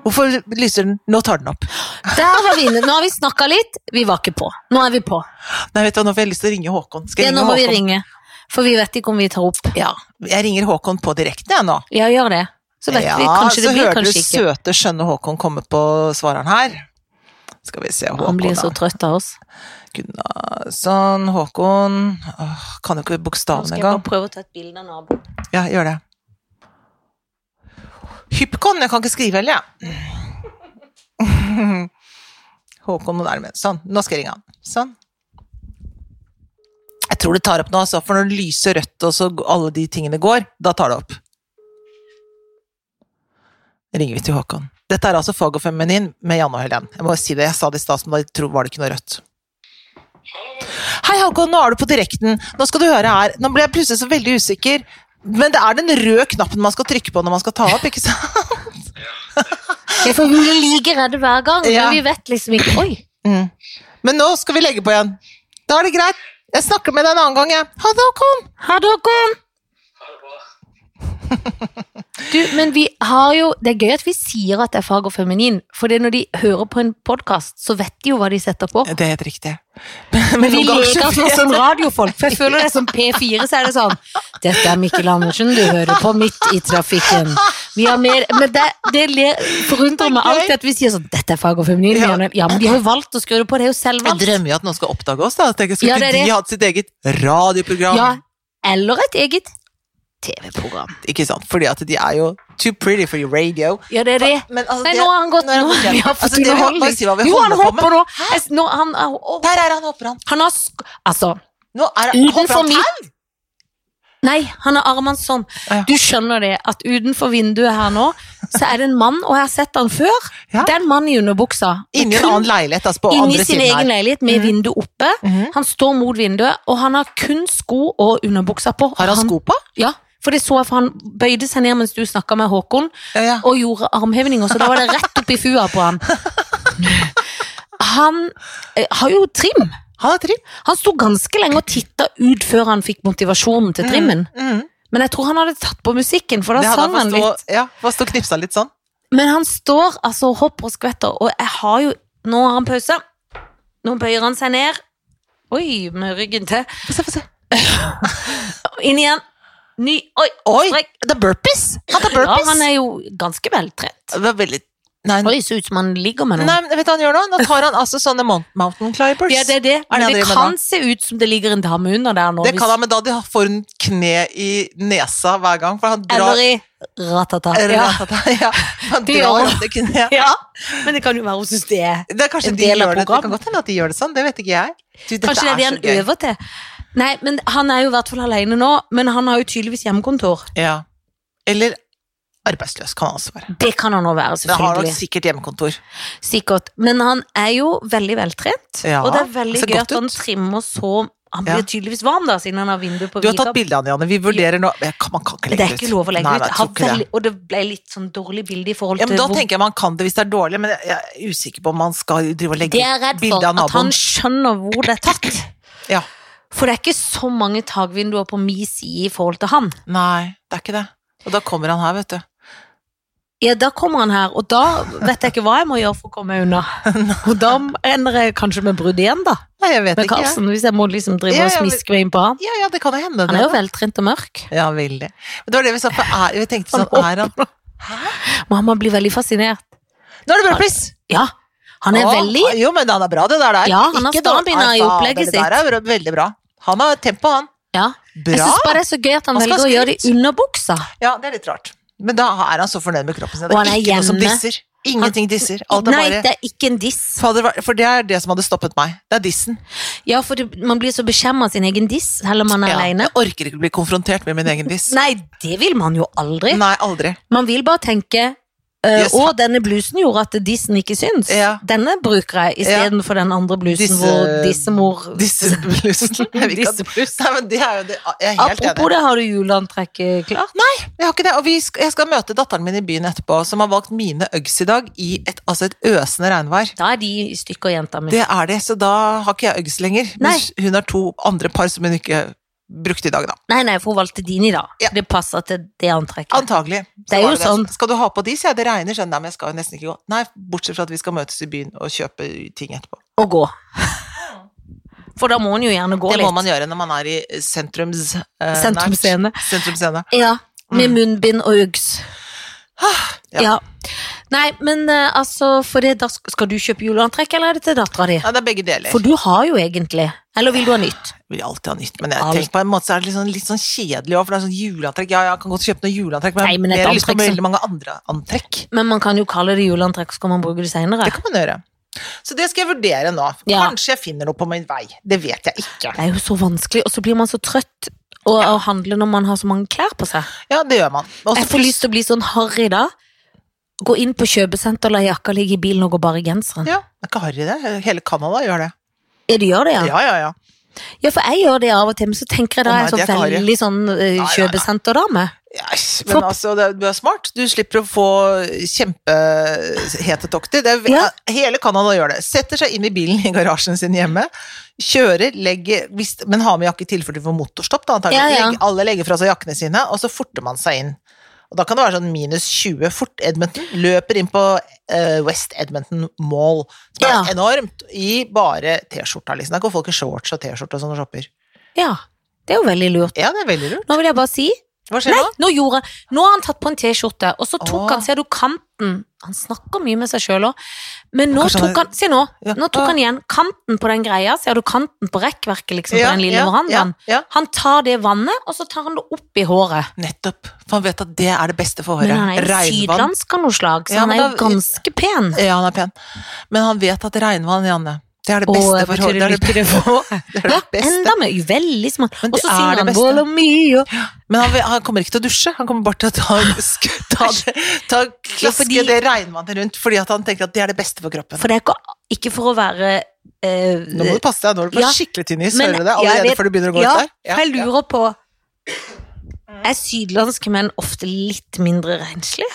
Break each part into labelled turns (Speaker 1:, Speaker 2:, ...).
Speaker 1: Hvorfor lyser den? Nå tar den opp.
Speaker 2: Der var vi inne. Nå har vi snakka litt, vi var ikke på. Nå er vi på.
Speaker 1: Nei, vet du, Nå får jeg lyst til å ringe Håkon. Skal
Speaker 2: Ja,
Speaker 1: jeg
Speaker 2: nå
Speaker 1: ringe
Speaker 2: må vi
Speaker 1: Håkon?
Speaker 2: ringe. For vi vet ikke om vi tar opp.
Speaker 1: Ja, jeg ringer Håkon på direkten, jeg nå.
Speaker 2: Ja, gjør det. Så vet
Speaker 1: ja,
Speaker 2: vi. Kanskje det
Speaker 1: så
Speaker 2: blir,
Speaker 1: hører du
Speaker 2: kanskje ikke.
Speaker 1: søte, skjønne Håkon komme på svareren her. Skal vi se, Håkon
Speaker 2: Han blir så
Speaker 1: da.
Speaker 2: trøtt av oss.
Speaker 1: Gunnarsson, Håkon Åh, Kan jo ikke
Speaker 2: Nå
Speaker 1: bokstavene
Speaker 2: skal jeg bare
Speaker 1: engang.
Speaker 2: prøve å ta et bilde av naboen.
Speaker 1: Ja, gjør det. Hypkon, jeg kan ikke skrive heller, jeg. Håkon må nærme. Sånn, nå skal jeg ringe han. Sånn. Jeg tror det tar opp nå, altså, for når det lyser rødt og så g- alle de tingene går, da tar det opp. Ringer vi til Håkon. Dette er altså Fag og Feminin med Janne og Helen. Jeg må si det, jeg sa det i stad, men da tro- var det ikke noe rødt. Hei, Håkon, nå er du på direkten. Nå skal du høre her. Nå ble jeg plutselig så veldig usikker. Men det er den røde knappen man skal trykke på når man skal ta opp, ikke sant?
Speaker 2: Ja, for vi blir like redde hver gang, men
Speaker 1: Ja.
Speaker 2: vi vet liksom ikke Oi!
Speaker 1: Mm. Men nå skal vi legge på igjen. Da er det greit. Jeg snakker med deg en annen gang, jeg. Ha det, Håkon.
Speaker 2: Ha det, Håkon! Du, men vi har jo Det er gøy at vi sier at det er fag og feminin, for det er når de hører på en podkast, så vet de jo hva de setter på.
Speaker 1: Det er helt riktig.
Speaker 2: Men vi
Speaker 1: noen ganger
Speaker 2: leker
Speaker 1: så
Speaker 2: oss nå som radiofolk, for jeg føler det er som P4, så er det sånn Dette er Mikkel Andersen, du hører på Midt i trafikken. Vi har mer, men det, det le- forundrer meg alltid at vi sier sånn Dette er fag og feminin.
Speaker 1: Ja.
Speaker 2: men- Ja, men de har jo valgt å skru det på, det er jo
Speaker 1: Jeg
Speaker 2: selvvalgt.
Speaker 1: drømmer jo at noen skal oppdage oss, da. Tenk, skulle
Speaker 2: Ja, det
Speaker 1: ikke
Speaker 2: er
Speaker 1: de
Speaker 2: det.
Speaker 1: hatt sitt eget radioprogram? E
Speaker 2: Ja, eller et eget TV-program.
Speaker 1: Ikke sant? Fordi at de er jo too pretty for your radio.
Speaker 2: Ja, det er det.
Speaker 1: Men altså,
Speaker 2: Nei,
Speaker 1: det-
Speaker 2: Eh, nå har han gått
Speaker 1: nå er han
Speaker 2: nå.
Speaker 1: gått igjen.
Speaker 2: Vi har fått
Speaker 1: Altså, det vil jeg
Speaker 2: underholdning.
Speaker 1: bare si hva vi
Speaker 2: Jo, han
Speaker 1: holder på med.
Speaker 2: hopper nå. Jeg s- nå han, er- å,
Speaker 1: Der er han, hopper han.
Speaker 2: han har sk Altså,
Speaker 1: Nå er han, hopper
Speaker 2: utenfor
Speaker 1: han tau.
Speaker 2: mitt Nei, han har armene sånn.
Speaker 1: Ah, ja.
Speaker 2: Du skjønner det, at utenfor vinduet her nå, så er det en mann, og jeg har sett han før.
Speaker 1: Ja.
Speaker 2: Det er en mann i underbuksa.
Speaker 1: Inni en
Speaker 2: Kun
Speaker 1: annen leilighet, altså, på
Speaker 2: Inni
Speaker 1: andre
Speaker 2: sin
Speaker 1: siden her.
Speaker 2: egen leilighet, med
Speaker 1: Mhm.
Speaker 2: vinduet oppe.
Speaker 1: Mhm.
Speaker 2: Han står mot vinduet, og han har kun sko og underbuksa på.
Speaker 1: Har han sko på?
Speaker 2: Ja, for det så jeg, for han bøyde seg ned mens du snakka med Håkon.
Speaker 1: Ja, ja.
Speaker 2: og gjorde armhevinger, så da var det rett opp i fua på han. Han eh, har jo trim.
Speaker 1: Han har trim.
Speaker 2: Han sto ganske lenge og titta ut før han fikk motivasjonen til trimmen.
Speaker 1: Mm.
Speaker 2: Men jeg tror han hadde tatt på musikken, for
Speaker 1: Det
Speaker 2: da
Speaker 1: hadde
Speaker 2: sang
Speaker 1: han
Speaker 2: han
Speaker 1: fått
Speaker 2: litt.
Speaker 1: stå, ja, fått stå og knipsa litt sånn.
Speaker 2: Men han står altså og hopper og skvetter, og jeg har jo Nå har han pause. Nå bøyer han seg ned. Oi, med ryggen til.
Speaker 1: Få se, få se.
Speaker 2: Inn igjen. Ny Oi,
Speaker 1: Oi,
Speaker 2: strekk.
Speaker 1: det er burpees! Han tar
Speaker 2: Ja,
Speaker 1: burpees!
Speaker 2: han er jo ganske veltrent.
Speaker 1: Det var veldig Nei,
Speaker 2: Oi, så ut som han ligger med
Speaker 1: nei
Speaker 2: noen.
Speaker 1: men vet du hva han gjør nå? Nå tar han altså sånne mount- mountain climbers.
Speaker 2: Ja, det er det. Men
Speaker 1: det han
Speaker 2: det,
Speaker 1: driver med
Speaker 2: kan se ut som det ligger en dame under der nå.
Speaker 1: Det
Speaker 2: hvis-
Speaker 1: kan han, men da de får hun kne i nesa hver gang, for han drar
Speaker 2: Eller i ratata.
Speaker 1: Eller-
Speaker 2: Ja.
Speaker 1: ja, Han
Speaker 2: De gjør
Speaker 1: drar
Speaker 2: det.
Speaker 1: ofte kne.
Speaker 2: ja, men det kan jo være hun syns det er
Speaker 1: Det er kanskje
Speaker 2: En
Speaker 1: de
Speaker 2: del av
Speaker 1: gjør det. Det kan
Speaker 2: programmet.
Speaker 1: godt hende at de gjør det sånn, det vet ikke jeg. Du, dette
Speaker 2: Kanskje det er det han
Speaker 1: så gøy.
Speaker 2: øver til. Nei, men Han er jo i hvert fall alene nå, men han har jo tydeligvis hjemmekontor.
Speaker 1: Ja. Eller arbeidsløs, kan han også være.
Speaker 2: Det kan han nå være,
Speaker 1: Men han har nok
Speaker 2: selvfølgelig.
Speaker 1: sikkert hjemmekontor.
Speaker 2: Sikkert. Men han er jo veldig veltrent,
Speaker 1: Ja,
Speaker 2: og det er veldig
Speaker 1: ser
Speaker 2: gøy
Speaker 1: godt
Speaker 2: at han
Speaker 1: ut.
Speaker 2: trimmer så Han
Speaker 1: Ja.
Speaker 2: blir tydeligvis varm, da, siden han har vinduet på
Speaker 1: Du har tatt
Speaker 2: vidgap.
Speaker 1: bilde av han, Janne. Vi vurderer nå Jeg kan- Man kan ikke legge
Speaker 2: Det
Speaker 1: det
Speaker 2: er
Speaker 1: ut.
Speaker 2: ikke lov å legge
Speaker 1: Nei,
Speaker 2: ut.
Speaker 1: nei, jeg
Speaker 2: Har
Speaker 1: tror ikke det.
Speaker 2: veldig, og det ble litt sånn dårlig bilde i forhold
Speaker 1: Ja,
Speaker 2: til
Speaker 1: men da
Speaker 2: hvor
Speaker 1: tenker jeg man kan det hvis det er dårlig, men jeg er usikker på om man skal drive og
Speaker 2: Det
Speaker 1: legge
Speaker 2: jeg er redd
Speaker 1: bilde
Speaker 2: for,
Speaker 1: av
Speaker 2: at han
Speaker 1: naboen.
Speaker 2: skjønner hvor det er tatt.
Speaker 1: Ja.
Speaker 2: For det er ikke så mange takvinduer på min side i forhold til han.
Speaker 1: Nei, det er ikke det. Og da kommer han her, vet du.
Speaker 2: Ja, da kommer han her, og da vet jeg ikke hva jeg må gjøre for å komme unna. Og da ender jeg kanskje med brudd igjen, da.
Speaker 1: Nei, jeg vet
Speaker 2: Med
Speaker 1: ikke. Jeg.
Speaker 2: Karlsen, hvis jeg må liksom drive
Speaker 1: Ja,
Speaker 2: og
Speaker 1: ja, men-
Speaker 2: smiske meg inn på han.
Speaker 1: Ja, ja, det kan jo hende.
Speaker 2: Han
Speaker 1: det.
Speaker 2: er jo veltrent og mørk.
Speaker 1: Ja, veldig. Men det var det vi sa, for er, vi tenkte sånn,
Speaker 2: Han
Speaker 1: er han
Speaker 2: Mamma blir veldig fascinert.
Speaker 1: Nå er det burpees!
Speaker 2: Ja, han er
Speaker 1: Å,
Speaker 2: veldig
Speaker 1: Jo, men han er bra, det der der.
Speaker 2: Ja, han har
Speaker 1: Ikke dårlig.
Speaker 2: stamina i
Speaker 1: Nei, fader,
Speaker 2: opplegget
Speaker 1: Det der er bra- veldig bra. Han har tempo, han.
Speaker 2: ja. Jeg
Speaker 1: Bra!
Speaker 2: syns bare det er så gøy at han,
Speaker 1: Han skal
Speaker 2: velger å
Speaker 1: ha
Speaker 2: gjøre det i underbuksa.
Speaker 1: Ja, det er litt rart. Men da er han så fornøyd med kroppen sin. Det
Speaker 2: Og han
Speaker 1: er
Speaker 2: er
Speaker 1: ikke noe som
Speaker 2: hjemme.
Speaker 1: disser. Ingenting disser. Alt er
Speaker 2: Nei,
Speaker 1: bare
Speaker 2: det er ikke en diss.
Speaker 1: Fader, hva- For det er det som hadde stoppet meg. Det er dissen.
Speaker 2: Ja, for det, man blir så beskjemmet av sin egen diss, selv om man er
Speaker 1: Ja,
Speaker 2: alene.
Speaker 1: Jeg orker ikke bli konfrontert med min egen diss.
Speaker 2: Nei, det vil man jo aldri.
Speaker 1: Nei, aldri.
Speaker 2: Man vil bare tenke øh,
Speaker 1: Yes.
Speaker 2: Å, denne blusen gjorde at dissen ikke syns.
Speaker 1: Ja.
Speaker 2: Denne bruker jeg istedenfor den andre blusen
Speaker 1: Disse-
Speaker 2: hvor dissemor
Speaker 1: Disseblussen. Jeg vil ikke at- Nei, men det er jo det. Jeg er helt
Speaker 2: Apropos
Speaker 1: enig.
Speaker 2: det, har du juleantrekket klart?
Speaker 1: Jeg har ikke det. Og vi skal, jeg skal møte datteren min i byen etterpå, som har valgt mine Uggs i dag i et, altså et øsende regnvær.
Speaker 2: Da er de i stykker, jenta mi.
Speaker 1: Det er det, så da har ikke jeg Uggs lenger.
Speaker 2: Nei.
Speaker 1: Mens hun har to andre par som hun ikke brukte i dag, da.
Speaker 2: Nei, nei, for hun valgte dine, da.
Speaker 1: Ja.
Speaker 2: Det passer til det antrekket.
Speaker 1: Antagelig. Så
Speaker 2: Det er
Speaker 1: var altså,
Speaker 2: jo sånn.
Speaker 1: Skal du ha på de, sier jeg. Det regner, skjønner jeg, men jeg skal jo nesten ikke gå. Nei, bortsett fra at vi skal møtes i byen og kjøpe ting etterpå.
Speaker 2: Å gå. For da må hun jo gjerne gå
Speaker 1: det må
Speaker 2: litt.
Speaker 1: man gjøre når man er i sentrums... eh,
Speaker 2: Sentrumsscene.
Speaker 1: nært. Sentrumsscene.
Speaker 2: Ja, med munnbind og uggs.
Speaker 1: Mm. ja.
Speaker 2: Ja. Nei, men eh, altså, for det, da sk- skal du kjøpe juleantrekk, eller er det til dattera di?
Speaker 1: Nei, det er begge deler.
Speaker 2: For du har jo egentlig. Eller vil du ha nytt?
Speaker 1: Jeg vil alltid ha nytt, men jeg
Speaker 2: Alt.
Speaker 1: tenker på en måte så er det litt sånn, litt sånn kjedelig også, for det er sånn juleantrekk. Ja, ja, jeg kan godt kjøpe noe juleantrekk, men,
Speaker 2: Nei, men et
Speaker 1: jeg har lyst på
Speaker 2: antrekk som-
Speaker 1: veldig mange andre antrekk.
Speaker 2: Men man kan jo kalle det juleantrekk, så kan man bruke det seinere.
Speaker 1: Det kan man gjøre. Så det skal jeg vurdere nå.
Speaker 2: Ja.
Speaker 1: Kanskje jeg finner noe på min vei. Det vet jeg ikke.
Speaker 2: Det er jo så vanskelig, og så blir man så trøtt å å handle når man har så mange klær på seg.
Speaker 1: Ja, det gjør man. Og så-
Speaker 2: Jeg får lyst til å bli sånn harry da. Gå inn på kjøpesenter, la jakka ligge i bilen og gå bare i genseren.
Speaker 1: Ja, det er ikke harry det. Hele Canada gjør det.
Speaker 2: Ja, du gjør det, ja. ja?
Speaker 1: Ja, ja, ja.
Speaker 2: for jeg gjør det av og til, men så tenker jeg da
Speaker 1: Å,
Speaker 2: er
Speaker 1: nei,
Speaker 2: jeg
Speaker 1: det er
Speaker 2: så
Speaker 1: ikke harry.
Speaker 2: veldig sånn eh,
Speaker 1: nei, nei.
Speaker 2: kjøpesenterdame.
Speaker 1: Yes, men
Speaker 2: Flopp.
Speaker 1: altså, det, du er smart. Du slipper å få kjempehetetokter. Det er,
Speaker 2: Ja.
Speaker 1: Hele Canada gjør det. Setter seg inn i bilen i garasjen sin hjemme, kjører, legger hvis, Men har med jakke i tilfelle de får motorstopp, da, antagelig.
Speaker 2: Ja, ja.
Speaker 1: Legger, alle legger fra seg jakkene sine, og så forter man seg inn. Og da kan det være sånn minus 20 fort Edmonton. Løper inn på eh, West Edmonton Mall, som er
Speaker 2: Ja.
Speaker 1: enormt, i bare T-skjorta, liksom. Der går folk i shorts og T-skjorte og sånn og shopper.
Speaker 2: Ja, det er jo veldig lurt.
Speaker 1: Ja, det er veldig lurt.
Speaker 2: Nå vil jeg bare si
Speaker 1: Hva skjer
Speaker 2: Nei,
Speaker 1: nå?
Speaker 2: nå gjorde jeg Nå har han tatt på en T-skjorte, og så tok
Speaker 1: Åh.
Speaker 2: han Ser du kanten Han snakker mye med seg sjøl òg, men nå
Speaker 1: Kanskje han
Speaker 2: tok han Se nå!
Speaker 1: Ja.
Speaker 2: Nå tok han igjen kanten på den greia. Ser du kanten på rekkverket, liksom, på den lille
Speaker 1: ja,
Speaker 2: verandaen?
Speaker 1: ja.
Speaker 2: Han tar det vannet, og så tar han det opp i håret.
Speaker 1: Nettopp. For han vet at det er det beste for
Speaker 2: Men
Speaker 1: håret.
Speaker 2: han er jo
Speaker 1: Regnvann.
Speaker 2: sydlandsk av noe slag, så
Speaker 1: Ja,
Speaker 2: han
Speaker 1: men
Speaker 2: er jo
Speaker 1: da-
Speaker 2: ganske pen.
Speaker 1: Ja, han er pen. Men han vet at regnvann, Janne, det er det
Speaker 2: Og
Speaker 1: beste for
Speaker 2: betyr
Speaker 1: håret. Det er det,
Speaker 2: det lykke det får.
Speaker 1: det, er
Speaker 2: Ja,
Speaker 1: det beste.
Speaker 2: enda mer. jo, Veldig smart.
Speaker 1: Men
Speaker 2: Og
Speaker 1: det
Speaker 2: så
Speaker 1: er
Speaker 2: synger
Speaker 1: det
Speaker 2: han
Speaker 1: beste.
Speaker 2: Bål og mye.
Speaker 1: Men han, vil- han kommer ikke til å dusje. Han kommer bare til å ta, ta, det- ta klaske
Speaker 2: fordi-
Speaker 1: det regnvannet rundt, fordi at han tenker at det er det beste for kroppen.
Speaker 2: For det er ikke, ikke for å være eh,
Speaker 1: Nå må du passe deg, nå er du på
Speaker 2: Ja.
Speaker 1: skikkelig tynn is.
Speaker 2: Men
Speaker 1: Hører du det?
Speaker 2: jeg
Speaker 1: Allerede
Speaker 2: vet-
Speaker 1: før du begynner å gå
Speaker 2: ja,
Speaker 1: ut der.
Speaker 2: for jeg lurer på Er sydlandske menn ofte litt mindre renslige?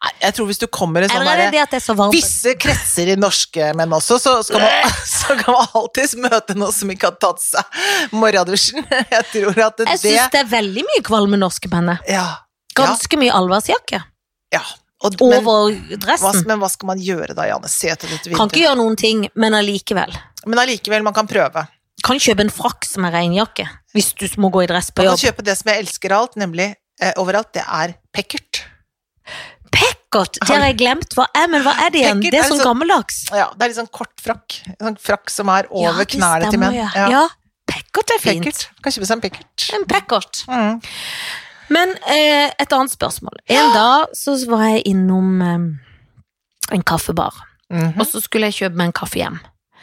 Speaker 1: Nei, Jeg tror hvis du kommer i sånn
Speaker 2: Eller er det
Speaker 1: derre
Speaker 2: det at det er så varmt?
Speaker 1: visse kretser i norske menn også, så, skal man, så kan man alltids møte noen som ikke har tatt seg morgendusjen. Jeg tror at det,
Speaker 2: jeg syns det er veldig mye kvalme norske menn.
Speaker 1: ja, ja,
Speaker 2: Ganske mye alvorsjakke
Speaker 1: ja. Og, men,
Speaker 2: over
Speaker 1: hva,
Speaker 2: dressen.
Speaker 1: men hva skal man gjøre da, Janne? Se etter dette
Speaker 2: Mm. Kan ikke
Speaker 1: vinduet.
Speaker 2: gjøre noen ting, men allikevel.
Speaker 1: Men allikevel, man kan prøve.
Speaker 2: Kan kjøpe en frakk som er regnjakke, hvis du må gå i dress på
Speaker 1: Man kan
Speaker 2: jobb.
Speaker 1: kjøpe det som jeg elsker alt, nemlig eh, overalt, det er pekkert.
Speaker 2: Pekkert! Det har jeg glemt. Hva er, men hva er det igjen?
Speaker 1: Pekkert altså-
Speaker 2: Det
Speaker 1: er
Speaker 2: er sånn
Speaker 1: så-
Speaker 2: gammeldags.
Speaker 1: Ja, det er litt sånn kort frakk. Sånn frakk som er over
Speaker 2: Ja, det
Speaker 1: knærne til
Speaker 2: stemmer,
Speaker 1: menn.
Speaker 2: ja. Ja, pekkert er fint.
Speaker 1: Pekkert. Kan kjøpe seg en pekkert.
Speaker 2: En pekkert.
Speaker 1: Mm.
Speaker 2: Men eh, et annet spørsmål. En dag så var jeg innom eh, en kaffebar,
Speaker 1: Mhm,
Speaker 2: og så skulle jeg kjøpe meg en kaffe hjem.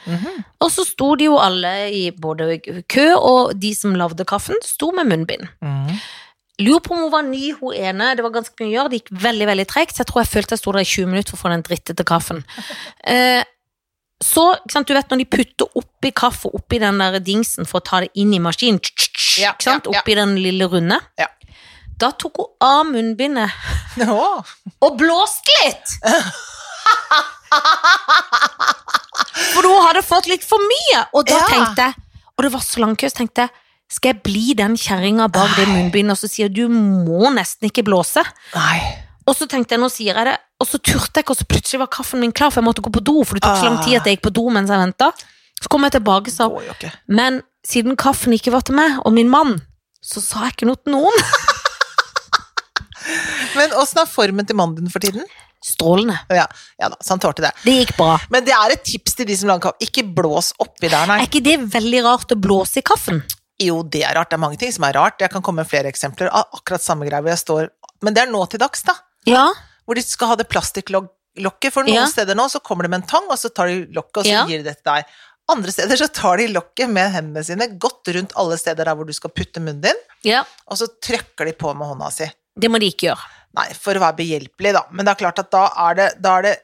Speaker 1: mhm.
Speaker 2: Og så sto de jo alle i både kø, og de som lagde kaffen, sto med munnbind.
Speaker 1: Mhm.
Speaker 2: Lurer på om hun var ny, hun ene. Det var ganske mye å gjøre, det gikk veldig veldig tregt, så jeg tror jeg følte jeg sto der i 20 minutter for å få den drittete kaffen. Eh, så, ikke sant, du vet når de putter oppi kaffe, oppi den der dingsen for å ta det inn i maskinen,
Speaker 1: Ja,
Speaker 2: ikke sant,
Speaker 1: ja, ja.
Speaker 2: oppi den lille runde,
Speaker 1: Ja.
Speaker 2: da tok hun av munnbindet.
Speaker 1: Åh.
Speaker 2: og blåst litt. For hun hadde fått litt for mye, og da
Speaker 1: Ja.
Speaker 2: tenkte jeg Og det var så lang kø, så tenkte jeg skal jeg bli den kjerringa bak det munnbindet og så sier jeg, du må nesten ikke blåse?
Speaker 1: Nei.
Speaker 2: Og så tenkte jeg, nå sier jeg det, og så turte jeg ikke, og så plutselig var kaffen min klar, for jeg måtte gå på do, for det tok så lang tid at jeg gikk på do mens jeg venta. Så kom jeg tilbake og sa
Speaker 1: Det går jo ikke.
Speaker 2: men siden kaffen ikke var til meg og min mann, så sa jeg ikke noe til noen.
Speaker 1: Men åssen er formen til mannen din for tiden?
Speaker 2: Strålende.
Speaker 1: Ja, ja da, så han tålte det.
Speaker 2: Det gikk bra.
Speaker 1: Men det er et tips til de som lager kaffe. Ikke blås oppi der, nei.
Speaker 2: Er ikke det veldig rart å blåse i kaffen?
Speaker 1: Jo, det er rart. Det er mange ting som er rart. Jeg kan komme med flere eksempler av akkurat samme greie hvor jeg står Men det er nå til dags, da.
Speaker 2: Ja.
Speaker 1: Hvor de skal ha det plastikklokket. For noen
Speaker 2: Ja.
Speaker 1: steder nå så kommer de med en tang, og så tar de lokket, og så
Speaker 2: Ja.
Speaker 1: gir de det til deg. Andre steder så tar de lokket med hendene sine godt rundt alle steder der hvor du skal putte munnen din,
Speaker 2: ja.
Speaker 1: og så trykker de på med hånda si.
Speaker 2: Det må de ikke gjøre.
Speaker 1: Nei, for å være behjelpelig, da. Men det er klart at da er det Da er det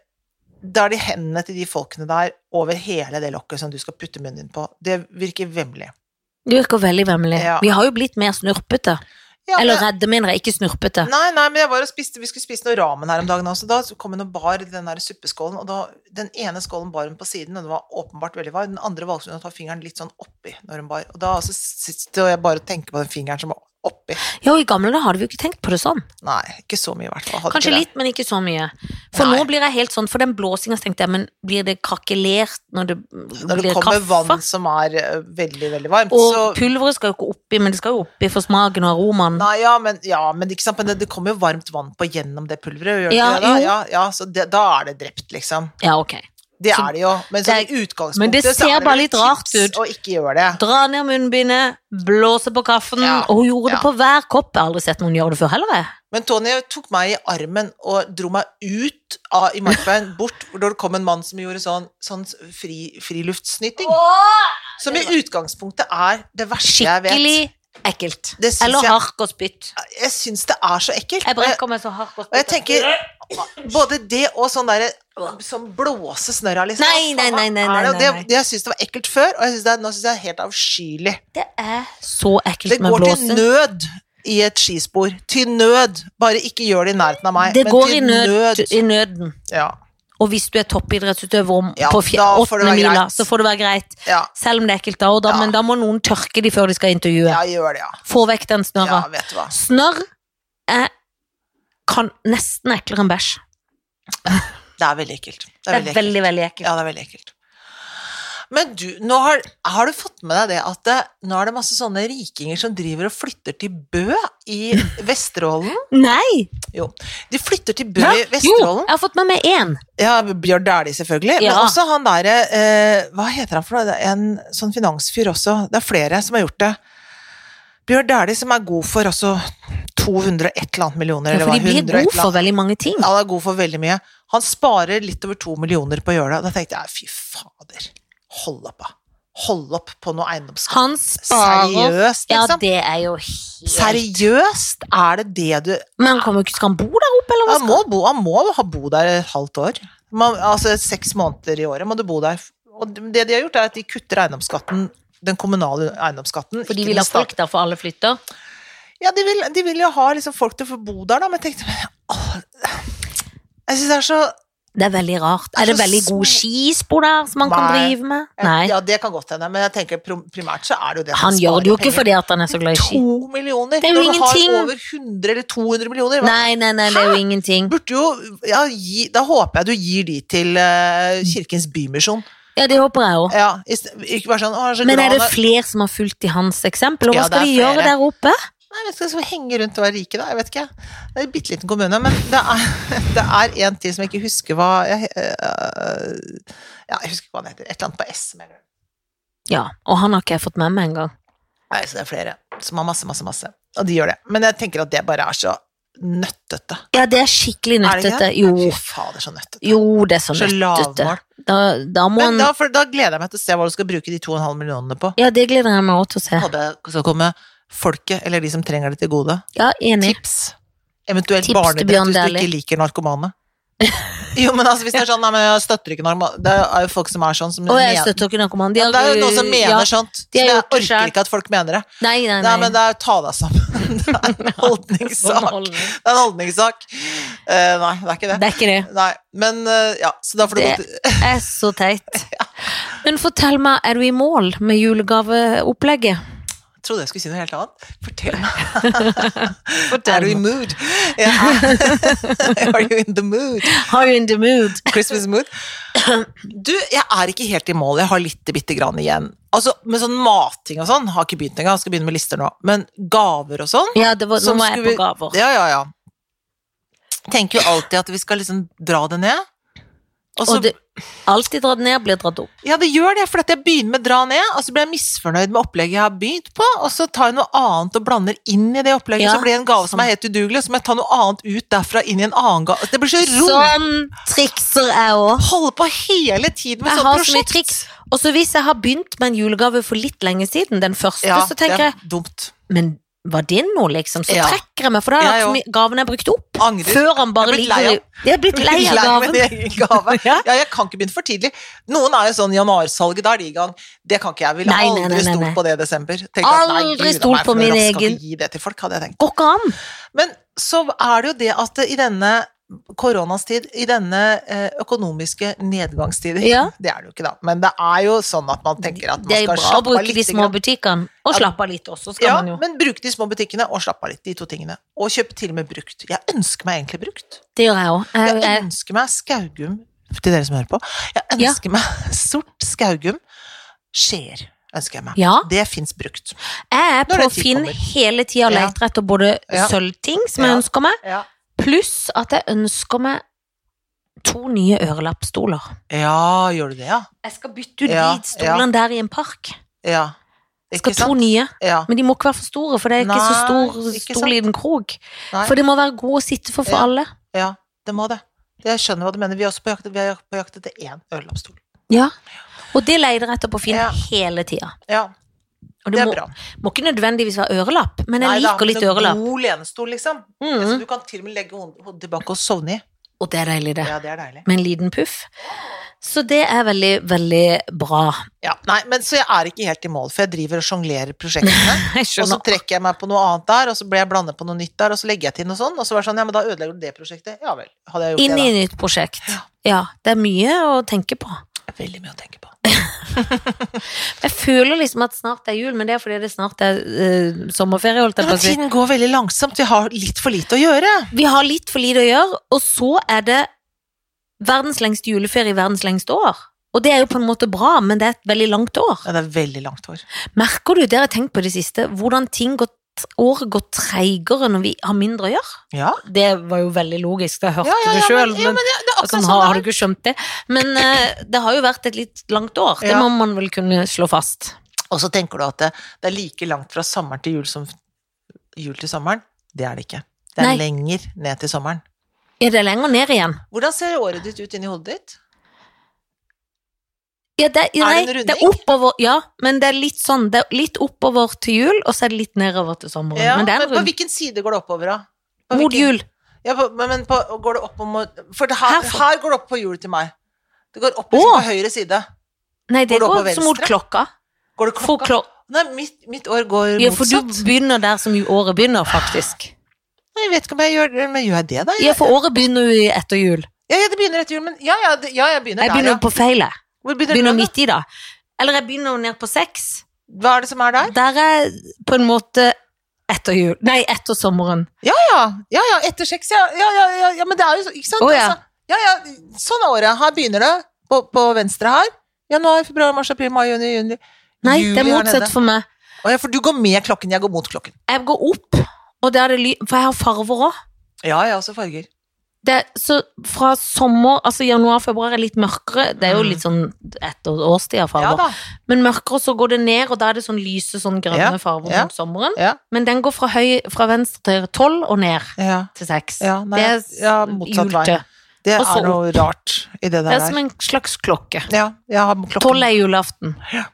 Speaker 1: da er det hendene til de folkene der over hele det lokket som du skal putte munnen din på. Det virker vemmelig.
Speaker 2: Det virker veldig vemmelig.
Speaker 1: Ja.
Speaker 2: Vi har jo blitt mer snurpete.
Speaker 1: Ja, men-
Speaker 2: Eller redde mindre, ikke snurpete.
Speaker 1: Nei, nei, men jeg var og spiste, vi skulle spise noe ramen her om dagen også. Da kom hun og bar den der suppeskålen, og da, den ene skålen bar hun på siden, og den var åpenbart veldig varm. Den andre valgte hun å ta fingeren litt sånn oppi når hun bar. Og da altså, sitter jeg bare og tenker på den fingeren som var oppi.
Speaker 2: Ja, og i gamle dager hadde vi jo ikke tenkt på det sånn.
Speaker 1: Nei, ikke så mye i hvert fall. Hadde
Speaker 2: Kanskje
Speaker 1: ikke det.
Speaker 2: litt, men ikke så mye. For
Speaker 1: Nei.
Speaker 2: nå blir jeg helt sånn, for den blåsingen så tenkte jeg, men blir det krakelert når det
Speaker 1: Når det
Speaker 2: blir
Speaker 1: kommer
Speaker 2: kaffe?
Speaker 1: vann som er eh, veldig, veldig varmt,
Speaker 2: Og
Speaker 1: så
Speaker 2: pulveret skal jo ikke oppi, men det skal jo oppi for smaken og aromaen.
Speaker 1: Nei, ja, men, ja, men, ikke sant? men det, det kommer jo varmt vann på gjennom det pulveret. Gjør det
Speaker 2: Ja,
Speaker 1: ikke det, da?
Speaker 2: jo.
Speaker 1: Ja, ja, så det, da er det drept, liksom.
Speaker 2: Ja, ok.
Speaker 1: Det
Speaker 2: Så
Speaker 1: er det jo. Men sånn
Speaker 2: det
Speaker 1: i utgangspunktet
Speaker 2: men det
Speaker 1: så
Speaker 2: ser
Speaker 1: er det
Speaker 2: bare
Speaker 1: vel
Speaker 2: litt
Speaker 1: tips
Speaker 2: rart ut.
Speaker 1: å ikke gjøre det.
Speaker 2: Dra ned munnbindet, blåse på kaffen,
Speaker 1: Ja,
Speaker 2: og hun gjorde
Speaker 1: ja.
Speaker 2: det på hver kopp. Jeg har aldri sett noen gjøre det før heller, jeg.
Speaker 1: Men Tony tok meg i armen og dro meg ut av, i markveien, bort hvor det kom en mann som gjorde sånn, sånn fri, friluftsnyting. Som i utgangspunktet er det verste jeg vet.
Speaker 2: Skikkelig ekkelt.
Speaker 1: Det syns
Speaker 2: Eller
Speaker 1: jeg-
Speaker 2: hark og spytt.
Speaker 1: Jeg syns det er så ekkelt.
Speaker 2: Jeg
Speaker 1: Og jeg,
Speaker 2: brekker meg så hark og spytt.
Speaker 1: Eh, og jeg tenker både det og sånn derre som blåser snørra, liksom.
Speaker 2: Nei, nei, nei, nei,
Speaker 1: Hva faen er det? Og
Speaker 2: nei, nei.
Speaker 1: Det, det, jeg syns det var ekkelt før, og jeg synes det, er- nå syns jeg det er helt avskyelig.
Speaker 2: Det er så
Speaker 1: Det
Speaker 2: ekkelt med
Speaker 1: går til
Speaker 2: blåsing.
Speaker 1: nød i et skispor. Til nød. Bare ikke gjør det i nærheten av meg.
Speaker 2: Det
Speaker 1: men
Speaker 2: går
Speaker 1: til
Speaker 2: i, nød, i nøden.
Speaker 1: Ja.
Speaker 2: Og hvis du er toppidrettsutøver om,
Speaker 1: Ja,
Speaker 2: på fje-
Speaker 1: da får det
Speaker 2: åttende
Speaker 1: være
Speaker 2: mila,
Speaker 1: greit.
Speaker 2: så får det være greit.
Speaker 1: ja.
Speaker 2: Selv om det er ekkelt da og da,
Speaker 1: Ja.
Speaker 2: men da må noen tørke de før de skal intervjue.
Speaker 1: Ja, gjør det, ja.
Speaker 2: Få vekk den snørra.
Speaker 1: Ja, vet du hva.
Speaker 2: Snørr er kan, nesten eklere enn bæsj.
Speaker 1: Det er veldig ekkelt.
Speaker 2: Det er veldig, veldig ekkelt.
Speaker 1: Ja, det er veldig ekkelt. Men du, nå har, har du fått med deg det at det, nå er det masse sånne rikinger som driver og flytter til Bø i Vesterålen?
Speaker 2: Nei!
Speaker 1: Jo. De flytter til Bø
Speaker 2: Hæ?
Speaker 1: i
Speaker 2: Jo,
Speaker 1: Vesterålen.
Speaker 2: jeg har fått med meg én.
Speaker 1: Ja, Bjørn Dæhlie, selvfølgelig. Men
Speaker 2: Ja.
Speaker 1: også han derre eh, Hva heter han for noe? Det er En sånn finansfyr også. Det er flere som har gjort det. Bjørn Dæhlie som er god for også 200 et eller annet millioner.
Speaker 2: Ja,
Speaker 1: eller
Speaker 2: for
Speaker 1: hva,
Speaker 2: de
Speaker 1: 100
Speaker 2: blir
Speaker 1: et
Speaker 2: gode
Speaker 1: eller annet.
Speaker 2: for veldig mange ting.
Speaker 1: Ja, han er god for veldig mye. Han sparer litt over to millioner på å gjøre det. Og da tenkte jeg, fy fader, hold opp, da. Hold opp på noe eiendomsskatt.
Speaker 2: Han sparer
Speaker 1: Seriøst,
Speaker 2: Ja,
Speaker 1: liksom.
Speaker 2: det er jo helt
Speaker 1: Seriøst, er det det du
Speaker 2: Men han kommer jo ikke Skal han bo der oppe, eller hva?
Speaker 1: Han må bo, han må ha bo der et halvt år. Man, altså seks måneder i året må du bo der. Og det de har gjort, er at de kutter eiendomsskatten, den kommunale eiendomsskatten.
Speaker 2: For de
Speaker 1: ikke
Speaker 2: vil
Speaker 1: den
Speaker 2: ha folk
Speaker 1: stat-
Speaker 2: der, for alle flytter.
Speaker 1: Ja, de vil, de vil jo ha liksom folk til å få bo der, da, men jeg tenkte men, åh, Jeg syns det er så
Speaker 2: Det er veldig rart.
Speaker 1: Det er
Speaker 2: Er det
Speaker 1: så
Speaker 2: veldig
Speaker 1: små-
Speaker 2: god skispor der som han kan
Speaker 1: Nei.
Speaker 2: drive med? Nei.
Speaker 1: Ja, det kan godt hende, men jeg tenker prim- primært så er det jo det
Speaker 2: Han gjør det jo ikke fordi at han er så glad i ski.
Speaker 1: To millioner!
Speaker 2: Det er
Speaker 1: Når
Speaker 2: jo
Speaker 1: du
Speaker 2: ingenting.
Speaker 1: har over 100 eller 200 millioner, hva-
Speaker 2: Nei, nei, nei, det er jo ingenting.
Speaker 1: burde jo ja, gi, Da håper jeg du gir de til eh, Kirkens Bymisjon.
Speaker 2: Ja, det håper jeg òg.
Speaker 1: Ja, i st- ikke bare sånn å, jeg er så
Speaker 2: Men er
Speaker 1: glad han
Speaker 2: det
Speaker 1: er-
Speaker 2: flere som har fulgt i hans eksempel? Og
Speaker 1: Ja,
Speaker 2: hva skal
Speaker 1: det er
Speaker 2: de gjøre
Speaker 1: flere.
Speaker 2: der oppe?
Speaker 1: Nei, jeg vet ikke, skal vi henge rundt og være rike, da? Jeg vet ikke. Det er en bitte liten kommune. Men det er, det er en til som jeg ikke husker hva jeg, eh, Ja, jeg husker ikke hva han heter. Et eller annet på S. mener du.
Speaker 2: Ja, og han har ikke jeg fått med meg engang.
Speaker 1: Nei, så det er flere som har masse, masse, masse. Og de gjør det. Men jeg tenker at det bare er så nøttete.
Speaker 2: Ja, det er skikkelig
Speaker 1: Er det ikke
Speaker 2: nøttete.
Speaker 1: det? Fy
Speaker 2: Jo,
Speaker 1: fader, så nøttete.
Speaker 2: jo, det er så
Speaker 1: Så
Speaker 2: nøttete.
Speaker 1: lavmål.
Speaker 2: Da, da må
Speaker 1: Men
Speaker 2: han
Speaker 1: da, for, da gleder jeg meg til å se hva du skal bruke de 2,5 millionene på.
Speaker 2: Ja, det gleder jeg meg òg til å se.
Speaker 1: Håper jeg skal komme folket, eller de som trenger det, til gode.
Speaker 2: Ja, enig.
Speaker 1: Tips. Eventuelt
Speaker 2: Tips til
Speaker 1: barnedrett hvis
Speaker 2: Bjørn
Speaker 1: du
Speaker 2: Dæhlie.
Speaker 1: ikke liker narkomane. Jo, men altså, hvis det er sånn, nei, men jeg støtter ikke narkomane Det er jo folk som er sånn som
Speaker 2: Og jeg
Speaker 1: mener-
Speaker 2: støtter ikke narkoman. De
Speaker 1: Ja,
Speaker 2: har-
Speaker 1: Det er jo noen som mener
Speaker 2: ja.
Speaker 1: sånt.
Speaker 2: de
Speaker 1: Så
Speaker 2: har
Speaker 1: jeg
Speaker 2: gjort det
Speaker 1: orker
Speaker 2: selv.
Speaker 1: ikke at folk mener det.
Speaker 2: Nei,
Speaker 1: Nei,
Speaker 2: nei, nei.
Speaker 1: men det er ta deg sammen. Det er en holdningssak.
Speaker 2: Underholdning.
Speaker 1: Det er en holdningssak. Eh, nei, det er ikke det.
Speaker 2: Det er ikke det.
Speaker 1: Nei, men eh, ja, så da får du
Speaker 2: Det-
Speaker 1: gå til
Speaker 2: er så teit. Men fortell meg, er du i mål med julegaveopplegget?
Speaker 1: Jeg trodde jeg skulle si noe helt annet. Fortell meg.
Speaker 2: Fortell
Speaker 1: er du i
Speaker 2: meg.
Speaker 1: mood? Ja. Are you in the mood?
Speaker 2: Are you in the mood?
Speaker 1: Christmas mood? Du, jeg er ikke helt i mål. Jeg har litt bitte grann igjen. Altså, med sånn mating og sånn, har ikke begynt engang. Skal begynne med lister nå. Men gaver og sånn
Speaker 2: Ja, det var, nå
Speaker 1: som
Speaker 2: var jeg
Speaker 1: skulle-
Speaker 2: på gaver.
Speaker 1: Ja, ja, ja. Tenker jo alltid at vi skal liksom dra det ned. Og så,
Speaker 2: Og det, alltid dratt ned blir dratt opp.
Speaker 1: Ja, det gjør det, for at jeg begynner med å dra ned, og så blir jeg misfornøyd med opplegget jeg har begynt på, og så tar jeg noe annet og blander inn i det opplegget,
Speaker 2: Ja. sånn.
Speaker 1: så blir det en gave som er helt udugelig, og så må jeg ta noe annet ut derfra inn i en annen gave. Det blir så rot!
Speaker 2: Sånn trikser jeg òg.
Speaker 1: Holde på hele tiden med
Speaker 2: Jeg
Speaker 1: sånt
Speaker 2: har så mye
Speaker 1: prosjekt.
Speaker 2: triks. Og så hvis jeg har begynt med en julegave for litt lenge siden, den første,
Speaker 1: Ja,
Speaker 2: så tenker
Speaker 1: det
Speaker 2: jeg
Speaker 1: er dumt.
Speaker 2: Men var det nå, liksom? Så
Speaker 1: Ja.
Speaker 2: trekker jeg meg, for da
Speaker 1: Jeg
Speaker 2: har jeg
Speaker 1: òg.
Speaker 2: hatt så mye- gaven jeg brukte opp.
Speaker 1: Angrer.
Speaker 2: Før han bare
Speaker 1: Jeg har blitt lei
Speaker 2: ligger Jeg er blitt lei av gaven.
Speaker 1: Min egen gave.
Speaker 2: Ja.
Speaker 1: Ja, jeg kan ikke begynne for tidlig. Noen er jo sånn januarsalget, da er de i gang. Det kan ikke jeg. Ville
Speaker 2: Nei, nei, nei,
Speaker 1: aldri
Speaker 2: nei,
Speaker 1: stolt
Speaker 2: nei.
Speaker 1: på det i desember. Tenkte
Speaker 2: Aldri
Speaker 1: gud a meg,
Speaker 2: stolt på
Speaker 1: for
Speaker 2: min
Speaker 1: rask Skal
Speaker 2: egen.
Speaker 1: ikke gi det til folk, hadde jeg tenkt.
Speaker 2: Går ikke an.
Speaker 1: Men så er det jo det at i denne koronas tid, i denne eh, økonomiske nedgangstider
Speaker 2: Ja.
Speaker 1: Det er det jo ikke, da. Men det er jo sånn at man tenker at man
Speaker 2: Det er jo
Speaker 1: skal
Speaker 2: bra å
Speaker 1: slappe av
Speaker 2: bruke
Speaker 1: litt.
Speaker 2: de små
Speaker 1: grann.
Speaker 2: butikkene. Og
Speaker 1: Ja.
Speaker 2: slappe av litt også, skal
Speaker 1: Ja,
Speaker 2: man jo.
Speaker 1: men bruk de små butikkene og slapp av litt, de to tingene. Og kjøp til og med brukt. Jeg ønsker meg egentlig brukt.
Speaker 2: Det gjør jeg òg. Jeg,
Speaker 1: Jeg
Speaker 2: jeg,
Speaker 1: ønsker meg Skaugum til dere som hører på. Jeg
Speaker 2: Ja.
Speaker 1: ønsker meg sort Skaugum. Skjer ønsker jeg meg.
Speaker 2: ja.
Speaker 1: Det fins brukt.
Speaker 2: Jeg er
Speaker 1: Når
Speaker 2: på
Speaker 1: den tid
Speaker 2: Finn
Speaker 1: kommer.
Speaker 2: hele tida og
Speaker 1: Ja.
Speaker 2: leter etter både
Speaker 1: Ja.
Speaker 2: sølvting, som jeg
Speaker 1: Ja.
Speaker 2: ønsker meg,
Speaker 1: Ja.
Speaker 2: pluss at jeg ønsker meg to nye ørelappstoler.
Speaker 1: gjør du det, ja?
Speaker 2: Jeg skal bytte ut
Speaker 1: Ja,
Speaker 2: de stolene der i en park.
Speaker 1: Ja.
Speaker 2: Jeg
Speaker 1: Ikke
Speaker 2: skal ha to
Speaker 1: sant?
Speaker 2: nye,
Speaker 1: Ja.
Speaker 2: men de må ikke være for store, for det er ikke
Speaker 1: Nei,
Speaker 2: så stor
Speaker 1: ikke sant.
Speaker 2: stol i den krok.
Speaker 1: Nei.
Speaker 2: For det må være god å sitte for for
Speaker 1: Ja.
Speaker 2: alle.
Speaker 1: Ja, det må det. Jeg skjønner hva du mener. Vi er også på jakt, vi er på jakt etter én ørelappstol.
Speaker 2: Ja. Og det leter jeg etter på Finn
Speaker 1: Ja.
Speaker 2: hele tida.
Speaker 1: Ja,
Speaker 2: Og
Speaker 1: det
Speaker 2: det
Speaker 1: er
Speaker 2: må,
Speaker 1: bra.
Speaker 2: må ikke nødvendigvis være ørelapp, men jeg
Speaker 1: Nei, da,
Speaker 2: liker litt
Speaker 1: en
Speaker 2: ørelapp.
Speaker 1: God lenestol, liksom. Det som
Speaker 2: Mm.
Speaker 1: du kan til og med legge hod- hodet tilbake og sovne i.
Speaker 2: Og det er deilig, det.
Speaker 1: Ja, det er deilig.
Speaker 2: Med en liten puff. Så det er veldig, veldig bra.
Speaker 1: Ja, nei, men Så jeg er ikke helt i mål, for jeg driver og sjonglerer prosjektene.
Speaker 2: Jeg
Speaker 1: Og så
Speaker 2: skjønner.
Speaker 1: trekker jeg meg på noe annet der, og så ble jeg blandet på noe nytt der, og så legger jeg til noe sånn, og så var det sånn, ja, men da ødelegger du det prosjektet. Ja vel, hadde jeg gjort
Speaker 2: Inn i
Speaker 1: det da.
Speaker 2: et nytt prosjekt. Ja, det er mye å tenke på.
Speaker 1: Det er Veldig mye å tenke på.
Speaker 2: Jeg føler liksom at snart er jul, men det er fordi det snart er eh, sommerferie, holdt jeg på
Speaker 1: Men
Speaker 2: å si.
Speaker 1: tiden går veldig langsomt, vi har litt for lite å gjøre.
Speaker 2: Vi har litt for lite å gjøre, og så er det verdens lengste juleferie i verdens lengste år. Og det er jo på en måte bra, men det er et veldig langt år.
Speaker 1: Ja, det er veldig langt hår.
Speaker 2: Merker du, det har jeg tenkt på i det siste, hvordan ting går, året går treigere når vi har mindre å gjøre?
Speaker 1: Ja,
Speaker 2: Det var jo veldig logisk, det hørte
Speaker 1: ja, ja,
Speaker 2: du
Speaker 1: ja,
Speaker 2: sjøl,
Speaker 1: men, ja,
Speaker 2: men,
Speaker 1: men ja, det er
Speaker 2: altså,
Speaker 1: akkurat
Speaker 2: har,
Speaker 1: sånn
Speaker 2: har du
Speaker 1: det er.
Speaker 2: ikke skjønt det? Men eh, det har jo vært et litt langt år, det
Speaker 1: Ja.
Speaker 2: må man vel kunne slå fast.
Speaker 1: Og så tenker du at det, det er like langt fra sommeren til jul som jul til sommeren. Det er det ikke. Det er
Speaker 2: Nei.
Speaker 1: lenger ned til sommeren.
Speaker 2: Er det lenger ned igjen?
Speaker 1: Hvordan ser året ditt ut inni hodet ditt?
Speaker 2: Ja, det,
Speaker 1: en
Speaker 2: nei,
Speaker 1: runding?
Speaker 2: det er oppover, ja, men det er litt sånn, det er litt oppover til jul, og så er det litt nedover til sommeren.
Speaker 1: Ja,
Speaker 2: men det er
Speaker 1: men
Speaker 2: en
Speaker 1: på
Speaker 2: rund.
Speaker 1: hvilken side går det oppover da? På
Speaker 2: Mot
Speaker 1: hvilken-
Speaker 2: jul.
Speaker 1: Ja, på, men men på, går det opp om å- For det her,
Speaker 2: Herfra.
Speaker 1: her går det opp på hjulet til meg. Det går opp liksom,
Speaker 2: Å.
Speaker 1: på høyre side.
Speaker 2: Nei,
Speaker 1: Går
Speaker 2: det
Speaker 1: det
Speaker 2: går,
Speaker 1: oppover
Speaker 2: som mot
Speaker 1: venstre?
Speaker 2: klokka.
Speaker 1: Går det
Speaker 2: For
Speaker 1: klokka?
Speaker 2: klok
Speaker 1: Nei, mitt, mitt år går
Speaker 2: ja, for
Speaker 1: motsatt.
Speaker 2: du begynner der som jo året begynner, faktisk.
Speaker 1: Nei, jeg vet ikke om jeg gjør det, men gjør jeg det, da?
Speaker 2: Ja, for året begynner jo etter jul.
Speaker 1: Ja, ja, det begynner etter jul, men ja, ja, det, ja jeg begynner
Speaker 2: Jeg
Speaker 1: der,
Speaker 2: begynner
Speaker 1: ja.
Speaker 2: jo på feilet.
Speaker 1: Hvor begynner,
Speaker 2: Begynner
Speaker 1: du, da?
Speaker 2: midt i, da. Eller jeg begynner jo ned på seks.
Speaker 1: Hva er det som er der?
Speaker 2: Der er på en måte etter jul. Nei, etter sommeren.
Speaker 1: Ja, ja, ja, etter seks, ja. Ja, ja, ja, ja, men det er jo så- Ikke sant?
Speaker 2: Å, ja.
Speaker 1: Altså, ja, ja, sånn er året. Her begynner det, på, på venstre her. Januar, februar, mars, april, mai, juni, juni.
Speaker 2: Nei,
Speaker 1: Juli
Speaker 2: det er
Speaker 1: her
Speaker 2: motsatt
Speaker 1: nede.
Speaker 2: for meg.
Speaker 1: Å, ja, for du går med klokken, jeg går mot klokken.
Speaker 2: Jeg går opp, og der er det ly... For jeg har farver òg.
Speaker 1: Ja, ja, også farger.
Speaker 2: det, så fra sommer, altså januar-februar er litt mørkere, det er jo
Speaker 1: Mm.
Speaker 2: litt sånn etter årstida
Speaker 1: Ja
Speaker 2: farger,
Speaker 1: da.
Speaker 2: men mørkere så går det ned, og da er det sånn lyse, sånn grønne
Speaker 1: Ja,
Speaker 2: farver
Speaker 1: ja,
Speaker 2: om sommeren,
Speaker 1: ja.
Speaker 2: men den går fra, høy, fra venstre til tolv og ned
Speaker 1: Ja,
Speaker 2: til seks.
Speaker 1: Ja, nei,
Speaker 2: det er s-
Speaker 1: ja, motsatt vei.
Speaker 2: julte.
Speaker 1: det
Speaker 2: Og så
Speaker 1: er noe rart i det der.
Speaker 2: Det er som en slags klokke.
Speaker 1: Ja, jeg har klokken.
Speaker 2: Tolv er julaften.
Speaker 1: Jeg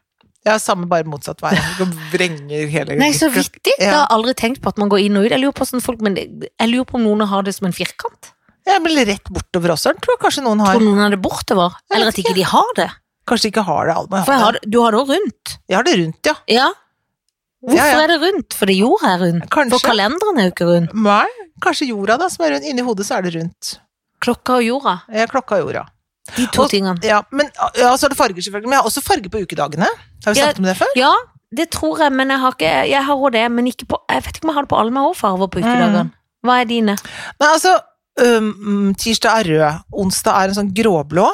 Speaker 1: har samme, bare motsatt vei. Du vrenger hele
Speaker 2: Nei, så vittig. Jeg
Speaker 1: Ja.
Speaker 2: har aldri tenkt på at man går inn og ut. Jeg lurer på, hvordan folk, men det- jeg lurer på om noen har det som en firkant.
Speaker 1: Jeg blir rett bortover også, tror jeg kanskje noen
Speaker 2: Tror
Speaker 1: har.
Speaker 2: du noen har det bortover?
Speaker 1: Jeg
Speaker 2: Eller
Speaker 1: vet
Speaker 2: at ikke de har det?
Speaker 1: Kanskje ikke har det, alle må
Speaker 2: For jeg
Speaker 1: ha
Speaker 2: har,
Speaker 1: det.
Speaker 2: det- du har det også rundt.
Speaker 1: Jeg har det rundt, ja.
Speaker 2: Ja. Hvorfor
Speaker 1: Ja, ja.
Speaker 2: er det rundt? Fordi jorda er rundt. For
Speaker 1: Kanskje.
Speaker 2: kalenderen er jo ikke rund.
Speaker 1: Nei, kanskje jorda da, som er rundt. Inni hodet så er det rundt.
Speaker 2: Klokka og jorda,
Speaker 1: Eh, Klokka er jorda.
Speaker 2: de to
Speaker 1: Og-
Speaker 2: tingene.
Speaker 1: Ja, men, ja, så er det farger selvfølgelig, men jeg har også farger på ukedagene. Har vi
Speaker 2: Ja.
Speaker 1: snakket om det før?
Speaker 2: Ja, det tror jeg, men jeg har ikke Jeg har også det, men ikke på Jeg vet ikke om jeg har det på alle mine farver på ukedagene. Hva er
Speaker 1: Nei,
Speaker 2: dine?
Speaker 1: altså, øhm, mm, tirsdag er rød, onsdag er en sånn gråblå,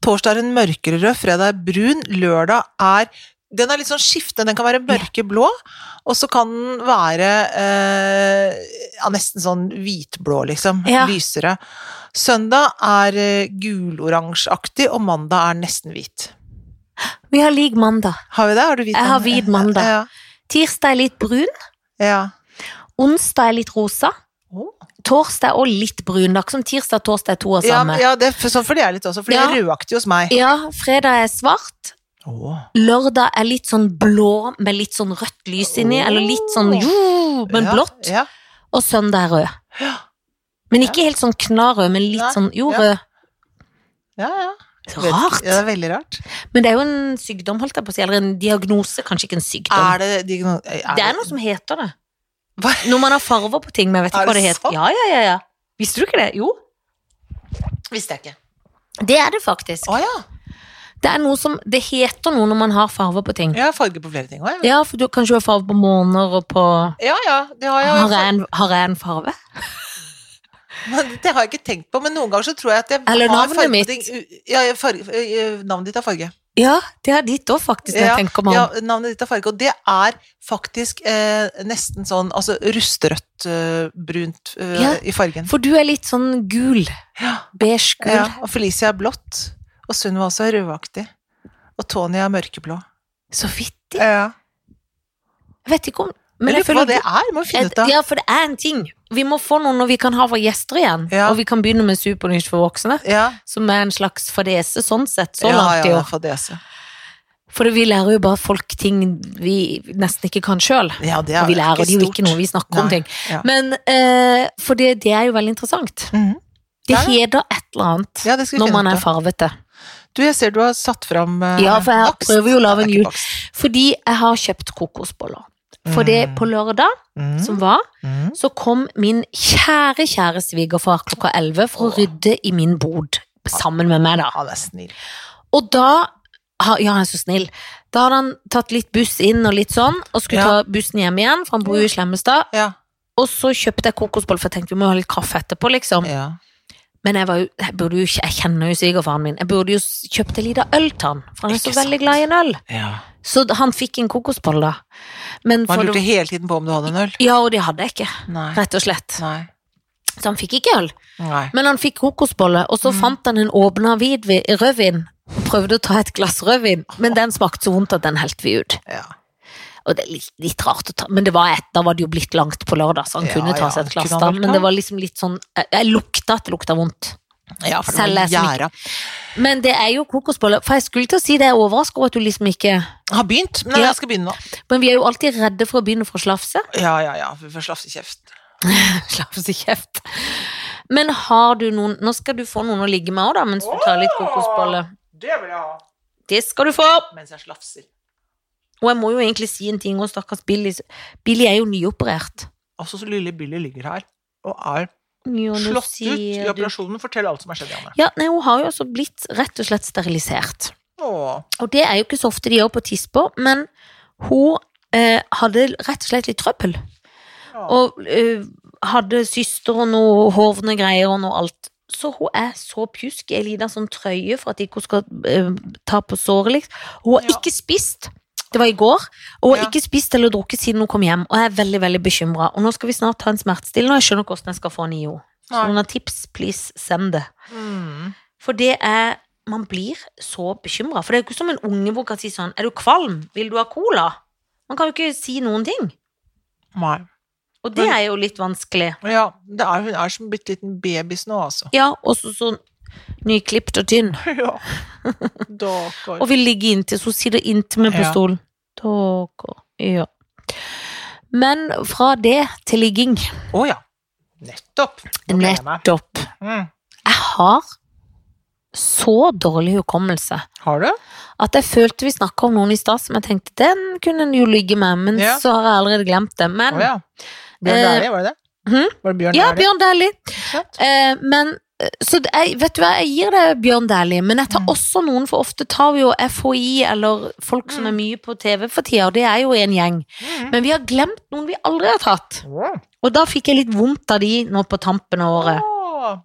Speaker 1: torsdag er en mørkere rød, fredag er brun, lørdag er den er litt sånn skiftende, den kan være mørkeblå, og så kan den være eh, ja, nesten sånn hvitblå, liksom.
Speaker 2: Ja.
Speaker 1: Lysere. Søndag er eh, guloransjeaktig, og mandag er nesten hvit.
Speaker 2: Vi har lik mandag.
Speaker 1: Har vi det? Har du hvit
Speaker 2: Jeg har hvit mandag.
Speaker 1: Ja.
Speaker 2: Tirsdag er litt brun.
Speaker 1: ja.
Speaker 2: Onsdag er litt rosa.
Speaker 1: Å.
Speaker 2: Torsdag er også litt brun. Det er ikke som tirsdag og torsdag er to av
Speaker 1: Ja,
Speaker 2: samme. Oh. Ja,
Speaker 1: ja, det er for- sånn for det er litt også, for det
Speaker 2: Ja.
Speaker 1: er rødaktig hos meg.
Speaker 2: fredag er svart.
Speaker 1: Åh.
Speaker 2: Lørdag er litt sånn blå med litt sånn rødt lys inni,
Speaker 1: Åh.
Speaker 2: eller litt sånn jo, men
Speaker 1: Ja,
Speaker 2: blått.
Speaker 1: Ja.
Speaker 2: Og søndag er rød.
Speaker 1: Ja.
Speaker 2: Men ikke helt sånn knarrød, men litt
Speaker 1: Nei,
Speaker 2: sånn jo,
Speaker 1: ja.
Speaker 2: rød.
Speaker 1: Ja, ja.
Speaker 2: Rart.
Speaker 1: Ja, det er veldig rart.
Speaker 2: Men det er jo en sykdom, holdt jeg på å si, eller en diagnose, kanskje ikke en sykdom.
Speaker 1: Er det diagno...
Speaker 2: det, er noe som heter det.
Speaker 1: Hva?
Speaker 2: Når man har farver på ting, men jeg vet
Speaker 1: Er
Speaker 2: ikke hva
Speaker 1: det
Speaker 2: det heter.
Speaker 1: sant?
Speaker 2: Ja, ja, ja, ja. Visste du ikke det? Jo,
Speaker 1: Visste jeg ikke.
Speaker 2: det er det faktisk.
Speaker 1: Å ja.
Speaker 2: Det er noe som, det heter noe når man har farver på ting.
Speaker 1: Jeg har farge på flere ting òg, jeg.
Speaker 2: Ja, for du kanskje har farve på måner og på...
Speaker 1: Ja ja, det har jeg.
Speaker 2: Har jeg, en, har jeg en farve?
Speaker 1: Men det har jeg ikke tenkt på, men noen ganger så tror jeg at jeg
Speaker 2: Eller
Speaker 1: har
Speaker 2: navnet
Speaker 1: farge på
Speaker 2: mitt.
Speaker 1: ting u- Ja, jeg farge, ø, ø, navnet ditt har farge.
Speaker 2: Ja, det er ditt òg, faktisk, når
Speaker 1: Ja,
Speaker 2: jeg tenker meg
Speaker 1: ja,
Speaker 2: om.
Speaker 1: navnet ditt har farge, og det er faktisk eh, nesten sånn altså rusterødt eh, brunt eh,
Speaker 2: Ja.
Speaker 1: i fargen.
Speaker 2: For du er litt sånn gul.
Speaker 1: Ja.
Speaker 2: Beige gul.
Speaker 1: ja. Og Felicia er blått, og Sunniva også er rødaktig. Og Tony er mørkeblå.
Speaker 2: Så vittig.
Speaker 1: Ja.
Speaker 2: Jeg vet ikke om
Speaker 1: Men
Speaker 2: Men jeg
Speaker 1: lurer på hva
Speaker 2: føler
Speaker 1: det er, må vi finne ut av.
Speaker 2: Ja, for det er en ting. Vi må få noe når vi kan ha våre gjester igjen.
Speaker 1: Ja.
Speaker 2: Og vi kan begynne med Supernytt for voksne,
Speaker 1: Ja,
Speaker 2: som er en slags fadese sånn sett. Så
Speaker 1: ja,
Speaker 2: langt i
Speaker 1: ja,
Speaker 2: år.
Speaker 1: fadese.
Speaker 2: For vi lærer jo bare folk ting vi nesten ikke kan sjøl.
Speaker 1: Ja, det
Speaker 2: Og
Speaker 1: er
Speaker 2: vi lærer
Speaker 1: ikke
Speaker 2: de jo
Speaker 1: stort.
Speaker 2: ikke noe, vi snakker om
Speaker 1: Nei,
Speaker 2: ting.
Speaker 1: ja.
Speaker 2: Men eh, For det, det er jo veldig interessant.
Speaker 1: Mhm.
Speaker 2: Det
Speaker 1: Ja, ja.
Speaker 2: heter et eller annet
Speaker 1: Ja, det skal vi
Speaker 2: når man
Speaker 1: finne
Speaker 2: er
Speaker 1: ut av.
Speaker 2: farvete.
Speaker 1: Du, jeg ser du har satt fram eh,
Speaker 2: Ja, for jeg
Speaker 1: bakst.
Speaker 2: prøver jo å lage
Speaker 1: Nei,
Speaker 2: en
Speaker 1: det er
Speaker 2: jul.
Speaker 1: ikke bakst.
Speaker 2: Fordi jeg har kjøpt kokosboller. For det
Speaker 1: Mm.
Speaker 2: på lørdag
Speaker 1: Mm.
Speaker 2: som var,
Speaker 1: Mm.
Speaker 2: så kom min kjære, kjære svigerfar klokka 11 for å
Speaker 1: Åh.
Speaker 2: rydde i min bod. Sammen med meg, da.
Speaker 1: Han er snill.
Speaker 2: Og da har- Ja, han er så snill. Da hadde han tatt litt buss inn og litt sånn, og skulle
Speaker 1: Ja.
Speaker 2: ta bussen hjem igjen, for han bor jo i Slemmestad.
Speaker 1: Ja.
Speaker 2: Og så kjøpte jeg kokosboller, for jeg tenkte vi må ha litt kaffe etterpå, liksom.
Speaker 1: ja.
Speaker 2: Men jeg, var jo, jeg, burde jo, jeg kjenner jo svigerfaren min. Jeg burde jo s- kjøpt en liten øl til han, for han er
Speaker 1: Ikke
Speaker 2: så
Speaker 1: sant.
Speaker 2: veldig glad i en øl.
Speaker 1: ja.
Speaker 2: Så han fikk en kokosbolle, da. Men
Speaker 1: Man
Speaker 2: for
Speaker 1: lurte
Speaker 2: det,
Speaker 1: hele tiden på om du hadde en øl.
Speaker 2: ja, og det hadde jeg ikke,
Speaker 1: Nei.
Speaker 2: rett og slett.
Speaker 1: Nei.
Speaker 2: Så han fikk ikke øl.
Speaker 1: Nei.
Speaker 2: Men han fikk kokosbolle, og så
Speaker 1: Mm.
Speaker 2: fant han en åpna hvidvin, rødvin. Prøvde å ta et glass rødvin, men den smakte så vondt at den helte vi ut.
Speaker 1: Ja.
Speaker 2: Og det er litt, litt rart å ta, men det var et, da var det jo blitt langt på lørdag, så han
Speaker 1: Ja,
Speaker 2: kunne ta
Speaker 1: ja,
Speaker 2: seg et
Speaker 1: kunne
Speaker 2: glass
Speaker 1: han
Speaker 2: da,
Speaker 1: vel ta?
Speaker 2: men det var liksom litt sånn Jeg, jeg lukta at det lukta vondt.
Speaker 1: ja, for det var
Speaker 2: Selv jeg som ikke-
Speaker 1: gjæra.
Speaker 2: Men det er jo kokosbolle, for jeg skulle til å si det, jeg er overraska over at du liksom ikke
Speaker 1: Har begynt, men
Speaker 2: Ja.
Speaker 1: jeg skal begynne nå.
Speaker 2: Men vi er jo alltid redde for å begynne for å slafse.
Speaker 1: Ja, ja, ja. Vi får slafse kjeft.
Speaker 2: Slafse kjeft. Men har du noen Nå skal du få noen å ligge med òg, da, mens du tar litt kokosbolle.
Speaker 1: Det vil jeg ha.
Speaker 2: Det skal du få!
Speaker 1: Mens jeg slafser.
Speaker 2: Og jeg må jo egentlig si en ting òg, stakkars Billy. Billy er jo nyoperert.
Speaker 1: Altså, så lille Billy ligger her og er
Speaker 2: Jo, nå
Speaker 1: slått ut i
Speaker 2: sier du-
Speaker 1: operasjonen. Fortell alt som har skjedd, Janne.
Speaker 2: Ja, nei, hun har jo altså blitt rett og slett sterilisert.
Speaker 1: Åh.
Speaker 2: Og det er jo ikke så ofte de gjør på Tispo, men hun eh, hadde rett og slett litt trøbbel.
Speaker 1: Åh.
Speaker 2: Og eh, hadde syster og noe hovne greier og noe alt. Så hun er så pjusk i ei lita sånn trøye for at ikke hun skal eh, ta på såret, liksom. Hun har
Speaker 1: Ja.
Speaker 2: ikke spist. Det var i går, og hun
Speaker 1: Ja.
Speaker 2: har ikke spist eller drukket siden hun kom hjem. Og jeg er veldig veldig bekymra. Og nå skal vi snart ta en smertestillende, og jeg skjønner hvordan jeg skal få en IO. Så
Speaker 1: Nei.
Speaker 2: noen har tips, please send det.
Speaker 1: Mm.
Speaker 2: For det er Man blir så bekymra. For det er jo ikke som en unge hvor man kan si sånn Er du kvalm? Vil du ha cola? Man kan jo ikke si noen ting.
Speaker 1: Nei.
Speaker 2: Og det
Speaker 1: Men-
Speaker 2: er jo litt vanskelig.
Speaker 1: Ja, det er, hun er som en bitte liten babys nå, altså.
Speaker 2: Ja, og så så nyklipt og tynn.
Speaker 1: Ja. Daker.
Speaker 2: Og vil ligge inntil, så hun sitter inntil meg på
Speaker 1: Ja.
Speaker 2: stolen. Dere. Ja. Men fra det til ligging.
Speaker 1: Å ja. Nettopp. Nå gleder jeg meg.
Speaker 2: Nettopp.
Speaker 1: Mm.
Speaker 2: Jeg har så dårlig hukommelse
Speaker 1: Har du?
Speaker 2: at jeg følte vi snakka om noen i stad som jeg tenkte den kunne en jo ligge med, men
Speaker 1: Ja.
Speaker 2: så har jeg allerede glemt det.
Speaker 1: Å
Speaker 2: Men
Speaker 1: ja. Bjørn
Speaker 2: Eh,
Speaker 1: Dæhlie, var det det?
Speaker 2: hm?
Speaker 1: Var det Bjørn
Speaker 2: Ja,
Speaker 1: Dæhlie?
Speaker 2: Bjørn Dæhlie.
Speaker 1: Sant?
Speaker 2: Eh, men eh, så det- jeg, vet du hva, jeg gir deg Bjørn Dæhlie, men jeg tar
Speaker 1: Mm.
Speaker 2: også noen, for ofte tar vi jo FHI eller folk som
Speaker 1: Mm.
Speaker 2: er mye på TV for tida, og det er jo en gjeng.
Speaker 1: Mm.
Speaker 2: Men vi har glemt noen vi aldri har tatt.
Speaker 1: Åh.
Speaker 2: Og da fikk jeg litt vondt av de nå på tampen av året.
Speaker 1: Åh.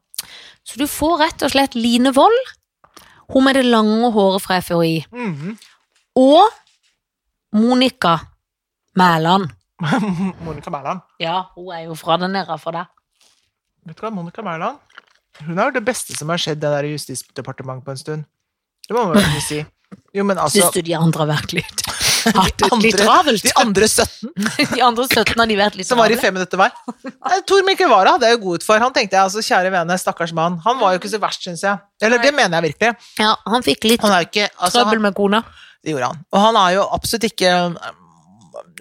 Speaker 2: Så du får rett og slett Line Wold, hun med det lange håret fra FHI,
Speaker 1: Mhm.
Speaker 2: og Monica Mæland.
Speaker 1: Monica Mæland.
Speaker 2: Ja, hun er jo fra den der for deg.
Speaker 1: Vet du hva, Monica Mæland Hun er jo det beste som har skjedd det der i Justisdepartementet på en stund. Det må man jo kunne si. Jo, men altså
Speaker 2: Syns du de andre har vært litt, hatt det litt
Speaker 1: andre-
Speaker 2: travelt?
Speaker 1: De andre 17
Speaker 2: De andre 17 har de vært litt
Speaker 1: som var i
Speaker 2: travle.
Speaker 1: fem minutter hver. Nei, Tor Mikkel Wara hadde jeg jo god ut for. Han tenkte jeg, altså, kjære vene, stakkars mann. Han var jo ikke så verst, syns jeg. Eller det mener jeg virkelig.
Speaker 2: Ja, han fikk litt
Speaker 1: Han er jo ikke altså, han,
Speaker 2: trøbbel med kona.
Speaker 1: Det gjorde han. Og han er jo absolutt ikke eh,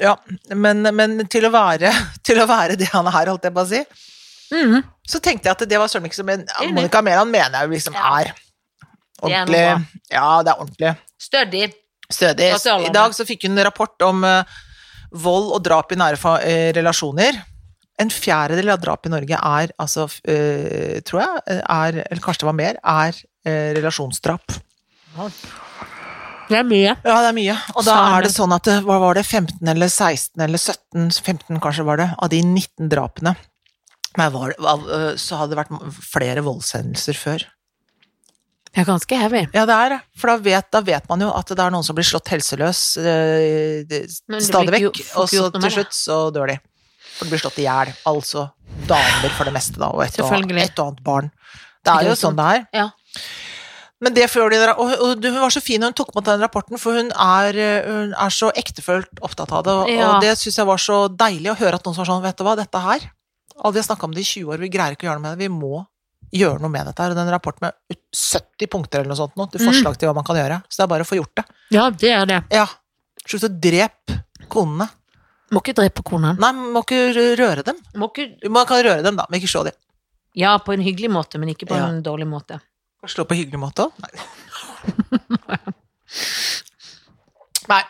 Speaker 1: Ja, men, men til, å være, til å være det han er, holdt jeg på å si,
Speaker 2: Mhm.
Speaker 1: så tenkte jeg at det var søren meg ikke som en
Speaker 2: Enig.
Speaker 1: Monica Mæland mener jeg jo liksom
Speaker 2: Ja.
Speaker 1: er
Speaker 2: Det er noe
Speaker 1: ordentlig Ja, det er ordentlig
Speaker 2: Stødig.
Speaker 1: stødig.
Speaker 2: Fra Sørlandet.
Speaker 1: I dag så fikk hun en rapport om eh, vold og drap i nære fa- eh, relasjoner. En fjerdedel av drap i Norge er altså, f- eh, tror jeg, er, eller kanskje det var mer, er eh, relasjonsdrap.
Speaker 2: Det er mye.
Speaker 1: Ja, det er mye. Og da
Speaker 2: Særlig.
Speaker 1: er det sånn at det- hva var det, 15 eller 16 eller 17, 15 kanskje var det, av de 19 drapene, men var, av, øh, så hadde det vært flere voldshendelser før.
Speaker 2: Det er ganske heavy.
Speaker 1: Ja, det er det. For da vet, da vet man jo at det er noen som blir slått helseløs øh, det-
Speaker 2: Men det blir
Speaker 1: stadig vekk,
Speaker 2: ikke gjo-
Speaker 1: og så
Speaker 2: gjort noe med
Speaker 1: til
Speaker 2: det.
Speaker 1: slutt så dør de. For de blir slått i hjel. Altså damer for det meste, da, og et og,
Speaker 2: Selvfølgelig.
Speaker 1: et og annet barn. Det er jo sånn det er.
Speaker 2: Ja.
Speaker 1: Men det får de, og, og du- hun var så fin når hun tok med den rapporten, for hun er, eh, hun er så ektefølt opptatt av det. Og,
Speaker 2: Ja.
Speaker 1: og det syns jeg var så deilig å høre at noen som var sånn, vet du hva, dette her Alle har snakka om det i 20 år, vi greier ikke å gjøre noe med det. Vi må gjøre noe med dette her. Og den rapporten med ut- 70 punkter eller noe sånt nå, til
Speaker 2: Mm.
Speaker 1: forslag til hva man kan gjøre. Så det er bare å få gjort det.
Speaker 2: Ja, det er det.
Speaker 1: Ja. Slutt å drepe konene.
Speaker 2: Må ikke drepe kona.
Speaker 1: Nei, man må ikke rø- røre dem.
Speaker 2: Må ikke
Speaker 1: Man kan røre dem, da, men ikke slå dem.
Speaker 2: Ja, på en hyggelig måte, men ikke på
Speaker 1: Ja.
Speaker 2: en dårlig måte.
Speaker 1: Slå på hyggelig måte òg? Nei. Nei.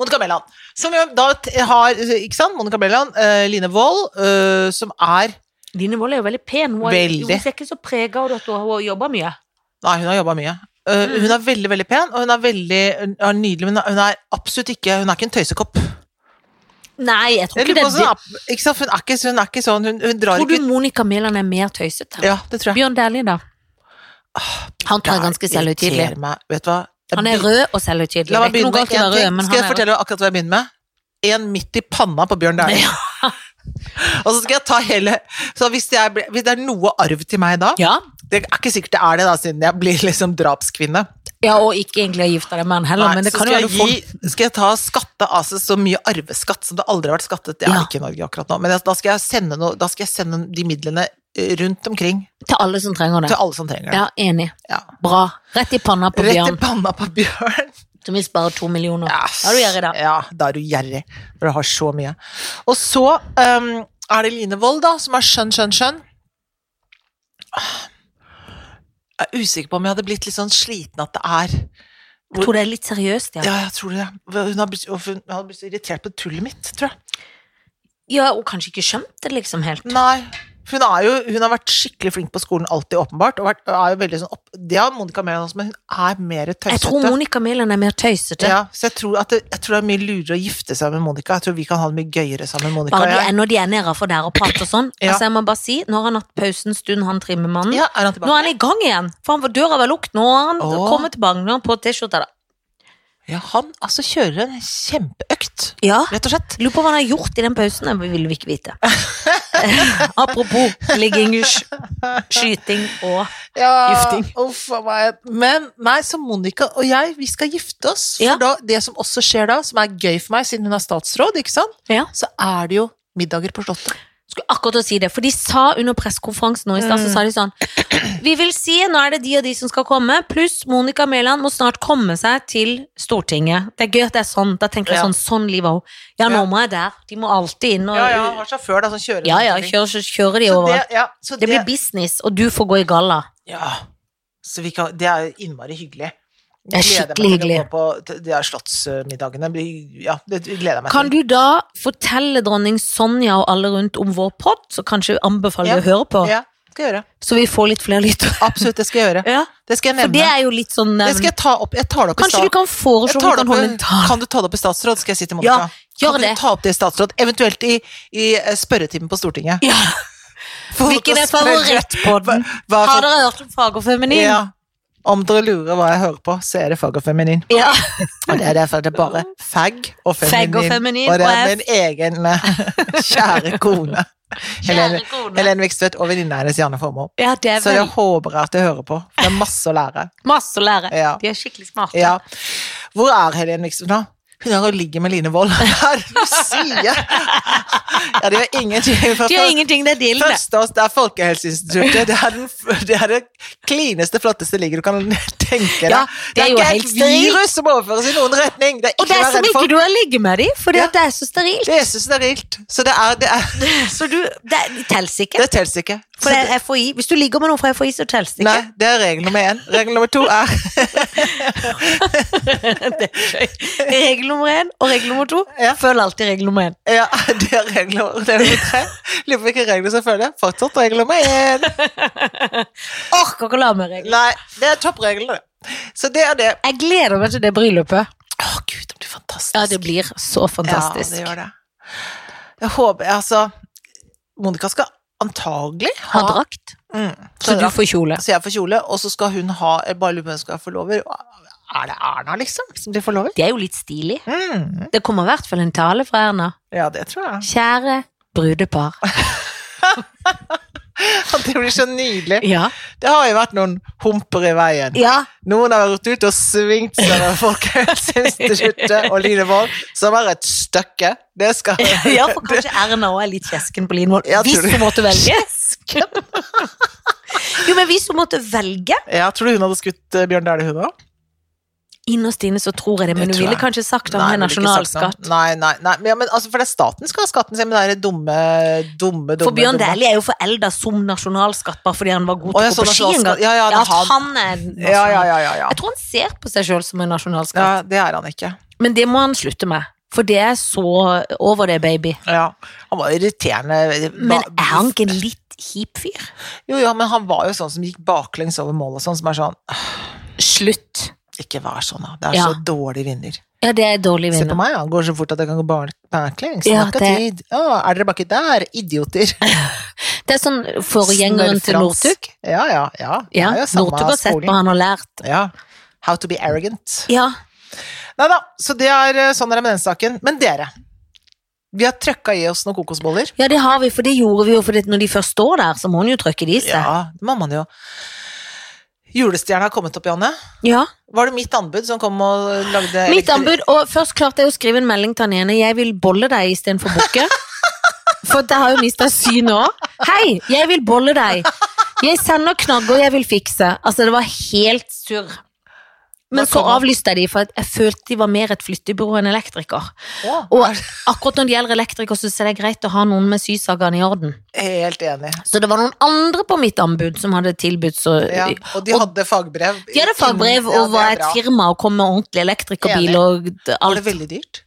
Speaker 1: Monica Mæland. Som jo da t- har Ikke sant? Monica Mæland, eh, Line Wold, eh, som er
Speaker 2: Line Wold er jo veldig pen. Hun, er,
Speaker 1: Veldig.
Speaker 2: hun ser ikke så prega av at hun har jobba mye.
Speaker 1: Nei, hun har jobba mye. Eh,
Speaker 2: Mm.
Speaker 1: Hun er veldig veldig pen, og hun er veldig hun er nydelig, men hun er absolutt ikke Hun er ikke en tøysekopp.
Speaker 2: Nei, jeg tror
Speaker 1: Jeg lurer på
Speaker 2: ikke det. er det.
Speaker 1: hvordan hun er- ikke sant? Hun er ikke, hun er ikke sånn Hun, hun drar
Speaker 2: Tror
Speaker 1: ikke
Speaker 2: du Monica Mæland er mer tøysete?
Speaker 1: Ja, Ah, det tror jeg.
Speaker 2: Bjørn Dæhlie, da? Han tror jeg er ganske selvhøytidelig.
Speaker 1: Irriterer meg. Vet du hva? Jeg
Speaker 2: Han er
Speaker 1: begyn-
Speaker 2: rød og selvhøytidelig.
Speaker 1: La meg
Speaker 2: Det er ikke
Speaker 1: begynne
Speaker 2: noe
Speaker 1: med
Speaker 2: galt i å
Speaker 1: en
Speaker 2: være rød,
Speaker 1: ting.
Speaker 2: men
Speaker 1: Skal jeg
Speaker 2: han er
Speaker 1: fortelle deg akkurat hva jeg begynner med? En midt i panna på Bjørn Dæhlie.
Speaker 2: Ja.
Speaker 1: Og så skal jeg ta hele Så hvis, jeg ble, hvis det er noe arv til meg da
Speaker 2: Ja.
Speaker 1: Det er ikke sikkert det er det, da, siden jeg blir liksom drapskvinne.
Speaker 2: ja, og ikke egentlig har gifta deg med han heller,
Speaker 1: Nei,
Speaker 2: men det
Speaker 1: så
Speaker 2: kan
Speaker 1: skal
Speaker 2: jo
Speaker 1: jeg,
Speaker 2: være folk
Speaker 1: gi, skal jeg ta skatte av seg så mye arveskatt som det aldri har vært skattet. Det er
Speaker 2: Ja.
Speaker 1: det ikke i Norge akkurat nå. Men jeg, da, skal jeg sende noe, da skal jeg sende de midlene eh, rundt omkring
Speaker 2: til alle som trenger det.
Speaker 1: til alle som trenger det.
Speaker 2: Ja, enig.
Speaker 1: Ja.
Speaker 2: Bra. Rett i panna på
Speaker 1: Rett i
Speaker 2: Bjørn,
Speaker 1: panna på Bjørn.
Speaker 2: som vi sparer to millioner.
Speaker 1: Ja,
Speaker 2: Da er du gjerrig, da.
Speaker 1: Ja, da er du gjerrig når du har så mye. Og så ehm, er det Line Wold, da, som er skjønn, skjønn, skjønn. Jeg er usikker på om jeg hadde blitt litt sånn sliten at det er
Speaker 2: Jeg tror det er litt seriøst, ja.
Speaker 1: Ja, jeg tror det. Hun har blitt, hun har blitt så irritert på tullet mitt, tror jeg.
Speaker 2: Ja, og kanskje ikke skjønt det liksom helt.
Speaker 1: Nei. for Hun, er jo, hun har vært skikkelig flink på skolen, alltid åpenbart. Og vært, er jo veldig sånn opp, det har Monica Mæland også, men hun er mer
Speaker 2: Jeg tror
Speaker 1: tøysete.
Speaker 2: Monica Mæland er mer tøysete.
Speaker 1: Ja, så jeg tror, at det, jeg tror det er mye lurere å gifte seg med Monica. Jeg tror vi kan ha det mye gøyere sammen med Monica.
Speaker 2: Bare de
Speaker 1: og jeg.
Speaker 2: er, når de er nede for der og prater sånn.
Speaker 1: Ja.
Speaker 2: Altså, jeg må bare si, nå har han hatt pausen stund, han trimmermannen.
Speaker 1: Ja, er han tilbake?
Speaker 2: Nå er han i gang igjen, for han var døra var lukket. Nå har han
Speaker 1: Åh.
Speaker 2: kommet tilbake, nå har han på T-skjorta. da.
Speaker 1: Ja, han altså kjører en kjempeøkt,
Speaker 2: Ja.
Speaker 1: rett og slett.
Speaker 2: Lurer på hva han har gjort i den pausen, det vil vi ikke vite. Apropos ligging, sj- skyting og Gifting.
Speaker 1: Uff a meg. Men nei, så Monica og jeg, vi skal gifte oss. For
Speaker 2: Ja.
Speaker 1: da, det som også skjer da, som er gøy for meg, siden hun er statsråd, ikke sant,
Speaker 2: Ja.
Speaker 1: så er det jo middager på Slottet.
Speaker 2: Skulle akkurat å si det, for de sa under pressekonferansen nå i stad, så
Speaker 1: Mm.
Speaker 2: sa de sånn Vi vil si, nå er det de og de som skal komme, pluss Monica Mæland må snart komme seg til Stortinget. Det er gøy at det er sånn. Da tenker jeg
Speaker 1: Ja.
Speaker 2: sånn, sånn livet er òg. Ja, nå
Speaker 1: Ja.
Speaker 2: må jeg der. De må alltid inn og
Speaker 1: Ja, ja, han har sjåfør da, som kjører.
Speaker 2: Ja, ja,
Speaker 1: rundt omkring.
Speaker 2: kjører, så kjører de
Speaker 1: Så det,
Speaker 2: overalt.
Speaker 1: ja, så
Speaker 2: Det, blir business, og du får gå i galla.
Speaker 1: Ja. Så vi kan, det er jo innmari hyggelig.
Speaker 2: Det
Speaker 1: Gleder meg
Speaker 2: er skikkelig
Speaker 1: til å
Speaker 2: hyggelig.
Speaker 1: gå På, til de her slottsmiddagene. Blir- Ja, det gleder jeg meg
Speaker 2: Kan
Speaker 1: til.
Speaker 2: du da fortelle dronning Sonja og alle rundt om vår pod, så kanskje anbefaler vi å høre på,
Speaker 1: Ja, det skal jeg gjøre.
Speaker 2: så vi får litt flere lyttere?
Speaker 1: Absolutt, det skal jeg gjøre.
Speaker 2: Ja,
Speaker 1: Det skal jeg
Speaker 2: for
Speaker 1: nevne.
Speaker 2: det er jo litt sånn eh,
Speaker 1: Det skal jeg ta opp. Jeg tar det opp i
Speaker 2: Kanskje
Speaker 1: stad.
Speaker 2: du kan foreslå
Speaker 1: Jeg
Speaker 2: om
Speaker 1: tar
Speaker 2: du
Speaker 1: det
Speaker 2: kan holde en
Speaker 1: opp,
Speaker 2: tale?
Speaker 1: kan du ta det opp i statsråd, skal jeg si til Monica.
Speaker 2: Ja, gjør
Speaker 1: kan
Speaker 2: det.
Speaker 1: du ta opp det i statsråd, eventuelt i, i eh, spørretimen på Stortinget?
Speaker 2: Ja.
Speaker 1: Folk
Speaker 2: Hvilken
Speaker 1: å
Speaker 2: er
Speaker 1: spørre-
Speaker 2: favorittpodden?
Speaker 1: Hva- hva er
Speaker 2: Har
Speaker 1: favor-
Speaker 2: dere hørt om Fag og Feminin?
Speaker 1: Altså- Ja. Om dere lurer hva jeg hører på, så er det fag og feminin.
Speaker 2: Ja.
Speaker 1: Og det er derfor det er bare fag og feminin.
Speaker 2: Fag og feminin,
Speaker 1: Og det
Speaker 2: og
Speaker 1: er
Speaker 2: jeg-
Speaker 1: min egen eh, kjære kone. Helene,
Speaker 2: Kjære kone.
Speaker 1: Helene Vikstvedt og venninna hennes Janne Formoe.
Speaker 2: Ja, det er
Speaker 1: Så jeg
Speaker 2: vel
Speaker 1: håper at jeg hører på. for Det er masse å lære.
Speaker 2: masse å lære.
Speaker 1: Ja.
Speaker 2: De er skikkelig smarte.
Speaker 1: Ja. Hvor er Helene Vikstvedt nå? Hun er og ligger med Line Wold. Hva er det du sier? Ja, de har ingenting. For,
Speaker 2: De har ingenting, det er dealen, det.
Speaker 1: Første års, det er Folkehelseinstituttet. Det er, den, f- det er det klineste, flotteste ligget du kan tenke deg.
Speaker 2: Ja, det er jo helt
Speaker 1: et
Speaker 2: sterilt.
Speaker 1: virus som overføres i noen retning. Det er
Speaker 2: Og
Speaker 1: ikke
Speaker 2: det er
Speaker 1: å være
Speaker 2: som
Speaker 1: redd
Speaker 2: ikke
Speaker 1: for.
Speaker 2: du har ligget med dem, fordi
Speaker 1: Ja.
Speaker 2: at det er så sterilt.
Speaker 1: Det er så sterilt. Så det er Det, er,
Speaker 2: Så du, det teller ikke.
Speaker 1: det telles ikke.
Speaker 2: For det er FHI. Hvis du ligger med noen fra FHI, så teller det
Speaker 1: Nei,
Speaker 2: ikke.
Speaker 1: det er regel nummer én. Regel nummer to er
Speaker 2: det er gøy. Regel nummer én og regel nummer to.
Speaker 1: Ja.
Speaker 2: Følg alltid regel nummer én.
Speaker 1: Ja, det er regel nummer, det er nummer tre. Lurer på hvilke regler som følger. Fortsatt regel nummer én.
Speaker 2: Orker ikke å la meg regle.
Speaker 1: Nei, det er toppreglene. Så det er det.
Speaker 2: Jeg gleder meg til det bryllupet.
Speaker 1: Å, gud, det blir fantastisk.
Speaker 2: Ja, det blir så fantastisk.
Speaker 1: Ja, det gjør det. Jeg håper Altså, Monica skal antagelig ha
Speaker 2: Ha drakt,
Speaker 1: Mm,
Speaker 2: så du får kjole.
Speaker 1: Så jeg får kjole, og så skal hun ha jeg Bare lurer på hvem som skal ha forlover. Er det Erna, liksom, som blir forlover?
Speaker 2: Det er jo litt stilig.
Speaker 1: Mm,
Speaker 2: Det kommer i hvert fall en tale fra Erna.
Speaker 1: ja, det tror jeg.
Speaker 2: Kjære brudepar.
Speaker 1: Det blir så nydelig.
Speaker 2: Ja.
Speaker 1: Det har jo vært noen humper i veien.
Speaker 2: ja.
Speaker 1: Noen har vært ute og svingt seg med Folkehelseinstituttet og Linevold, som er et stykke. Det skal
Speaker 2: Ja, for kanskje Erna òg er litt kjesken på Linvoll.
Speaker 1: Ja,
Speaker 2: Hvis
Speaker 1: tror du-
Speaker 2: hun måtte velge. Jo, men hvis hun måtte velge
Speaker 1: Ja, tror du hun hadde skutt eh, Bjørn Dæhlie, hun òg?
Speaker 2: Innerst inne så tror jeg det, men
Speaker 1: Det
Speaker 2: hun
Speaker 1: tror
Speaker 2: ville
Speaker 1: jeg.
Speaker 2: kanskje sagt at hun
Speaker 1: ville
Speaker 2: er
Speaker 1: ikke sagt
Speaker 2: nasjonalskatt.
Speaker 1: noe. Nei, nei, nei. Men, ja, men altså, for det er staten skal ha skatten sin, men det er det dumme, dumme, dumme
Speaker 2: For Bjørn
Speaker 1: dumme.
Speaker 2: Dæhlie er jo forelda som nasjonalskatt, bare fordi han var god
Speaker 1: Å,
Speaker 2: til
Speaker 1: jeg
Speaker 2: å
Speaker 1: så
Speaker 2: gå på ski en
Speaker 1: nasjonalskatt.
Speaker 2: gang.
Speaker 1: Ja, ja, det
Speaker 2: Ja,
Speaker 1: er
Speaker 2: at han er
Speaker 1: Ja, ja,
Speaker 2: nasjonal.
Speaker 1: ja, ja, ja.
Speaker 2: Jeg tror han ser på seg sjøl som en
Speaker 1: ja.
Speaker 2: nasjonalskatt,
Speaker 1: Det er han ikke.
Speaker 2: men det må han slutte med. For det er så over det, baby.
Speaker 1: Ja. Han var irriterende.
Speaker 2: Men
Speaker 1: Ba-
Speaker 2: er han ikke en litt kjip fyr?
Speaker 1: Jo, ja, men han var jo sånn som gikk baklengs over mål og sånn, som er sånn
Speaker 2: Slutt.
Speaker 1: Ikke vær sånn, da. Det er
Speaker 2: Ja.
Speaker 1: så dårlig vinner.
Speaker 2: Ja, det er dårlig
Speaker 1: Se på
Speaker 2: vinner.
Speaker 1: meg, han går så fort at jeg kan gå bak- baklengs.
Speaker 2: Ja,
Speaker 1: Ja, det...
Speaker 2: det-
Speaker 1: tid. Å, er dere baki der? Idioter.
Speaker 2: Det er sånn forgjengeren til
Speaker 1: Snørrfrans.
Speaker 2: Northug.
Speaker 1: Ja, ja, ja. Det
Speaker 2: Ja,
Speaker 1: er jo samme
Speaker 2: Northug har sett
Speaker 1: skolen.
Speaker 2: på han og lært.
Speaker 1: Ja. How to be arrogant.
Speaker 2: Ja,
Speaker 1: Nei da, så det er eh, sånn er det med den saken. Men dere, vi har trøkka i oss noen kokosboller.
Speaker 2: ja, det har vi, for det gjorde vi jo, for det, når de først står der, så må han jo trykke de i seg.
Speaker 1: Ja, det må man jo. Julestjerna har kommet opp, Janne.
Speaker 2: Ja.
Speaker 1: Var det mitt anbud som kom og lagde
Speaker 2: Mitt
Speaker 1: elektri-
Speaker 2: anbud, og først klarte jeg å skrive en melding til han ene, jeg vil bolle deg istedenfor bukke. For det har jo mista synet òg. Hei, jeg vil bolle deg. Jeg sender knagger, jeg vil fikse. Altså, det var helt surr. Men
Speaker 1: Da
Speaker 2: så
Speaker 1: kom han.
Speaker 2: avlyste jeg de, for jeg følte de var mer et flyttebyrå enn elektriker.
Speaker 1: Å,
Speaker 2: Og akkurat når det gjelder elektriker, så er det greit å ha noen med sysagene i orden.
Speaker 1: Helt enig.
Speaker 2: Så det var noen andre på mitt anbud som hadde tilbud så
Speaker 1: Ja, og de hadde fagbrev.
Speaker 2: De hadde fagbrev
Speaker 1: Ja,
Speaker 2: og
Speaker 1: det
Speaker 2: var
Speaker 1: er
Speaker 2: et
Speaker 1: bra.
Speaker 2: firma og kom med ordentlig elektrikerbil
Speaker 1: Enig.
Speaker 2: og
Speaker 1: Var det
Speaker 2: alt.
Speaker 1: veldig dyrt?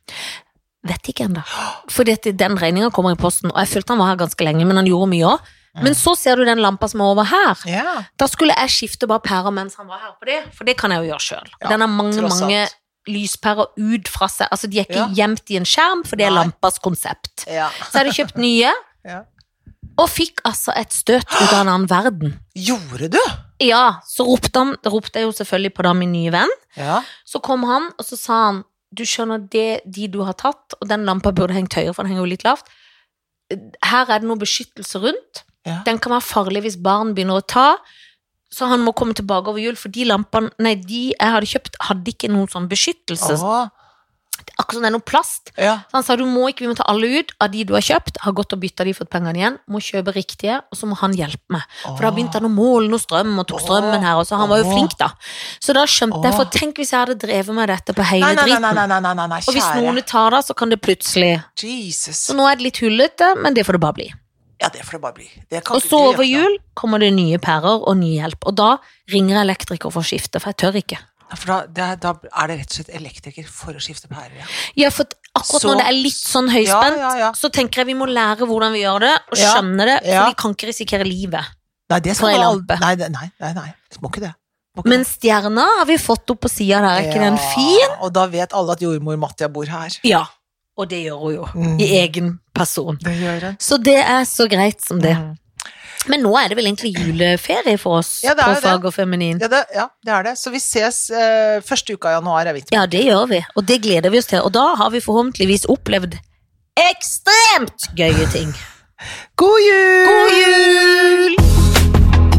Speaker 2: Vet ikke ennå. For den regninga kommer i posten, og jeg følte han var her ganske lenge, men han gjorde mye òg. Men så ser du den lampa som er over her.
Speaker 1: Mm. Ja.
Speaker 2: Da skulle jeg skifte bare pærer mens han var her på det, for det kan jeg jo gjøre sjøl.
Speaker 1: Ja,
Speaker 2: Den har mange,
Speaker 1: tross
Speaker 2: mange
Speaker 1: alt.
Speaker 2: lyspærer ut fra seg. Altså, de er ikke
Speaker 1: Ja.
Speaker 2: gjemt i en skjerm, for det er
Speaker 1: Nei.
Speaker 2: lampas konsept.
Speaker 1: ja.
Speaker 2: Så jeg hadde kjøpt nye,
Speaker 1: Ja.
Speaker 2: og fikk altså et støt ut av en annen verden.
Speaker 1: Gjorde du?
Speaker 2: Ja, så ropte, han, ropte jeg jo selvfølgelig på da min nye venn.
Speaker 1: Ja.
Speaker 2: Så kom han, og så sa han Du skjønner, det de du har tatt, og den lampa burde hengt høyere, for den henger jo litt lavt. Her er det noe beskyttelse rundt.
Speaker 1: Ja.
Speaker 2: Den kan være farlig hvis barn begynner å ta. Så han må komme tilbake over jul, for de lampene Nei, de jeg hadde kjøpt, hadde ikke noen sånn beskyttelse.
Speaker 1: Å,
Speaker 2: Akkurat som det er noe plast.
Speaker 1: ja.
Speaker 2: Så han sa du må ikke, vi må ta alle ut av de du har kjøpt. Har gått og bytta de, fått pengene igjen. Må kjøpe riktige, og så må han hjelpe meg. For da begynte han å måle noe strøm, og tok
Speaker 1: Åh.
Speaker 2: strømmen her, og så han var jo
Speaker 1: Åh.
Speaker 2: flink, da. Så da skjønte jeg,
Speaker 1: Åh.
Speaker 2: for tenk hvis jeg hadde drevet med dette på hele
Speaker 1: Nei, nei, nei, nei,
Speaker 2: driten.
Speaker 1: nei, nei, nei, nei,
Speaker 2: Og hvis
Speaker 1: kjære.
Speaker 2: noen tar det, så kan det plutselig
Speaker 1: Jesus.
Speaker 2: Så nå er det litt hullete, men det får det bare bli.
Speaker 1: Ja, det får det bare bli. Det kan
Speaker 2: Og
Speaker 1: ikke
Speaker 2: så
Speaker 1: du
Speaker 2: over
Speaker 1: gjøre.
Speaker 2: jul kommer det nye pærer og ny hjelp, og da ringer jeg elektriker for å skifte, for jeg tør ikke.
Speaker 1: Ja, for da, det er, da er det rett og slett elektriker for å skifte pærer. Ja.
Speaker 2: Ja, for akkurat
Speaker 1: Så-
Speaker 2: når det er litt sånn høyspent,
Speaker 1: Ja, ja, ja.
Speaker 2: så tenker jeg vi må lære hvordan vi gjør det, og
Speaker 1: Ja,
Speaker 2: skjønne det, for
Speaker 1: ja.
Speaker 2: vi kan ikke risikere livet.
Speaker 1: Nei, det
Speaker 2: På
Speaker 1: skal
Speaker 2: ei
Speaker 1: man
Speaker 2: lampe.
Speaker 1: aldri Nei, det- nei, nei, nei. Du må ikke det. Du Må ikke
Speaker 2: Men stjerna har vi fått opp på sida der, er ikke den fin?
Speaker 1: Ja, Og da vet alle at jordmor Mattia bor her.
Speaker 2: Ja, og det gjør hun jo.
Speaker 1: Mm.
Speaker 2: I egen person.
Speaker 1: Det gjør hun.
Speaker 2: Så det er så greit som det.
Speaker 1: Mm.
Speaker 2: Men nå er det vel egentlig juleferie for oss
Speaker 1: Ja, det er
Speaker 2: på
Speaker 1: jo det.
Speaker 2: Fag og Feminin.
Speaker 1: Ja det, ja, det er det. Så vi ses eh, første uka i januar, er vi
Speaker 2: Ja, det gjør vi, og det gleder vi oss til. Og da har vi forhåpentligvis opplevd ekstremt gøye ting.
Speaker 1: God jul!
Speaker 2: God
Speaker 1: jul!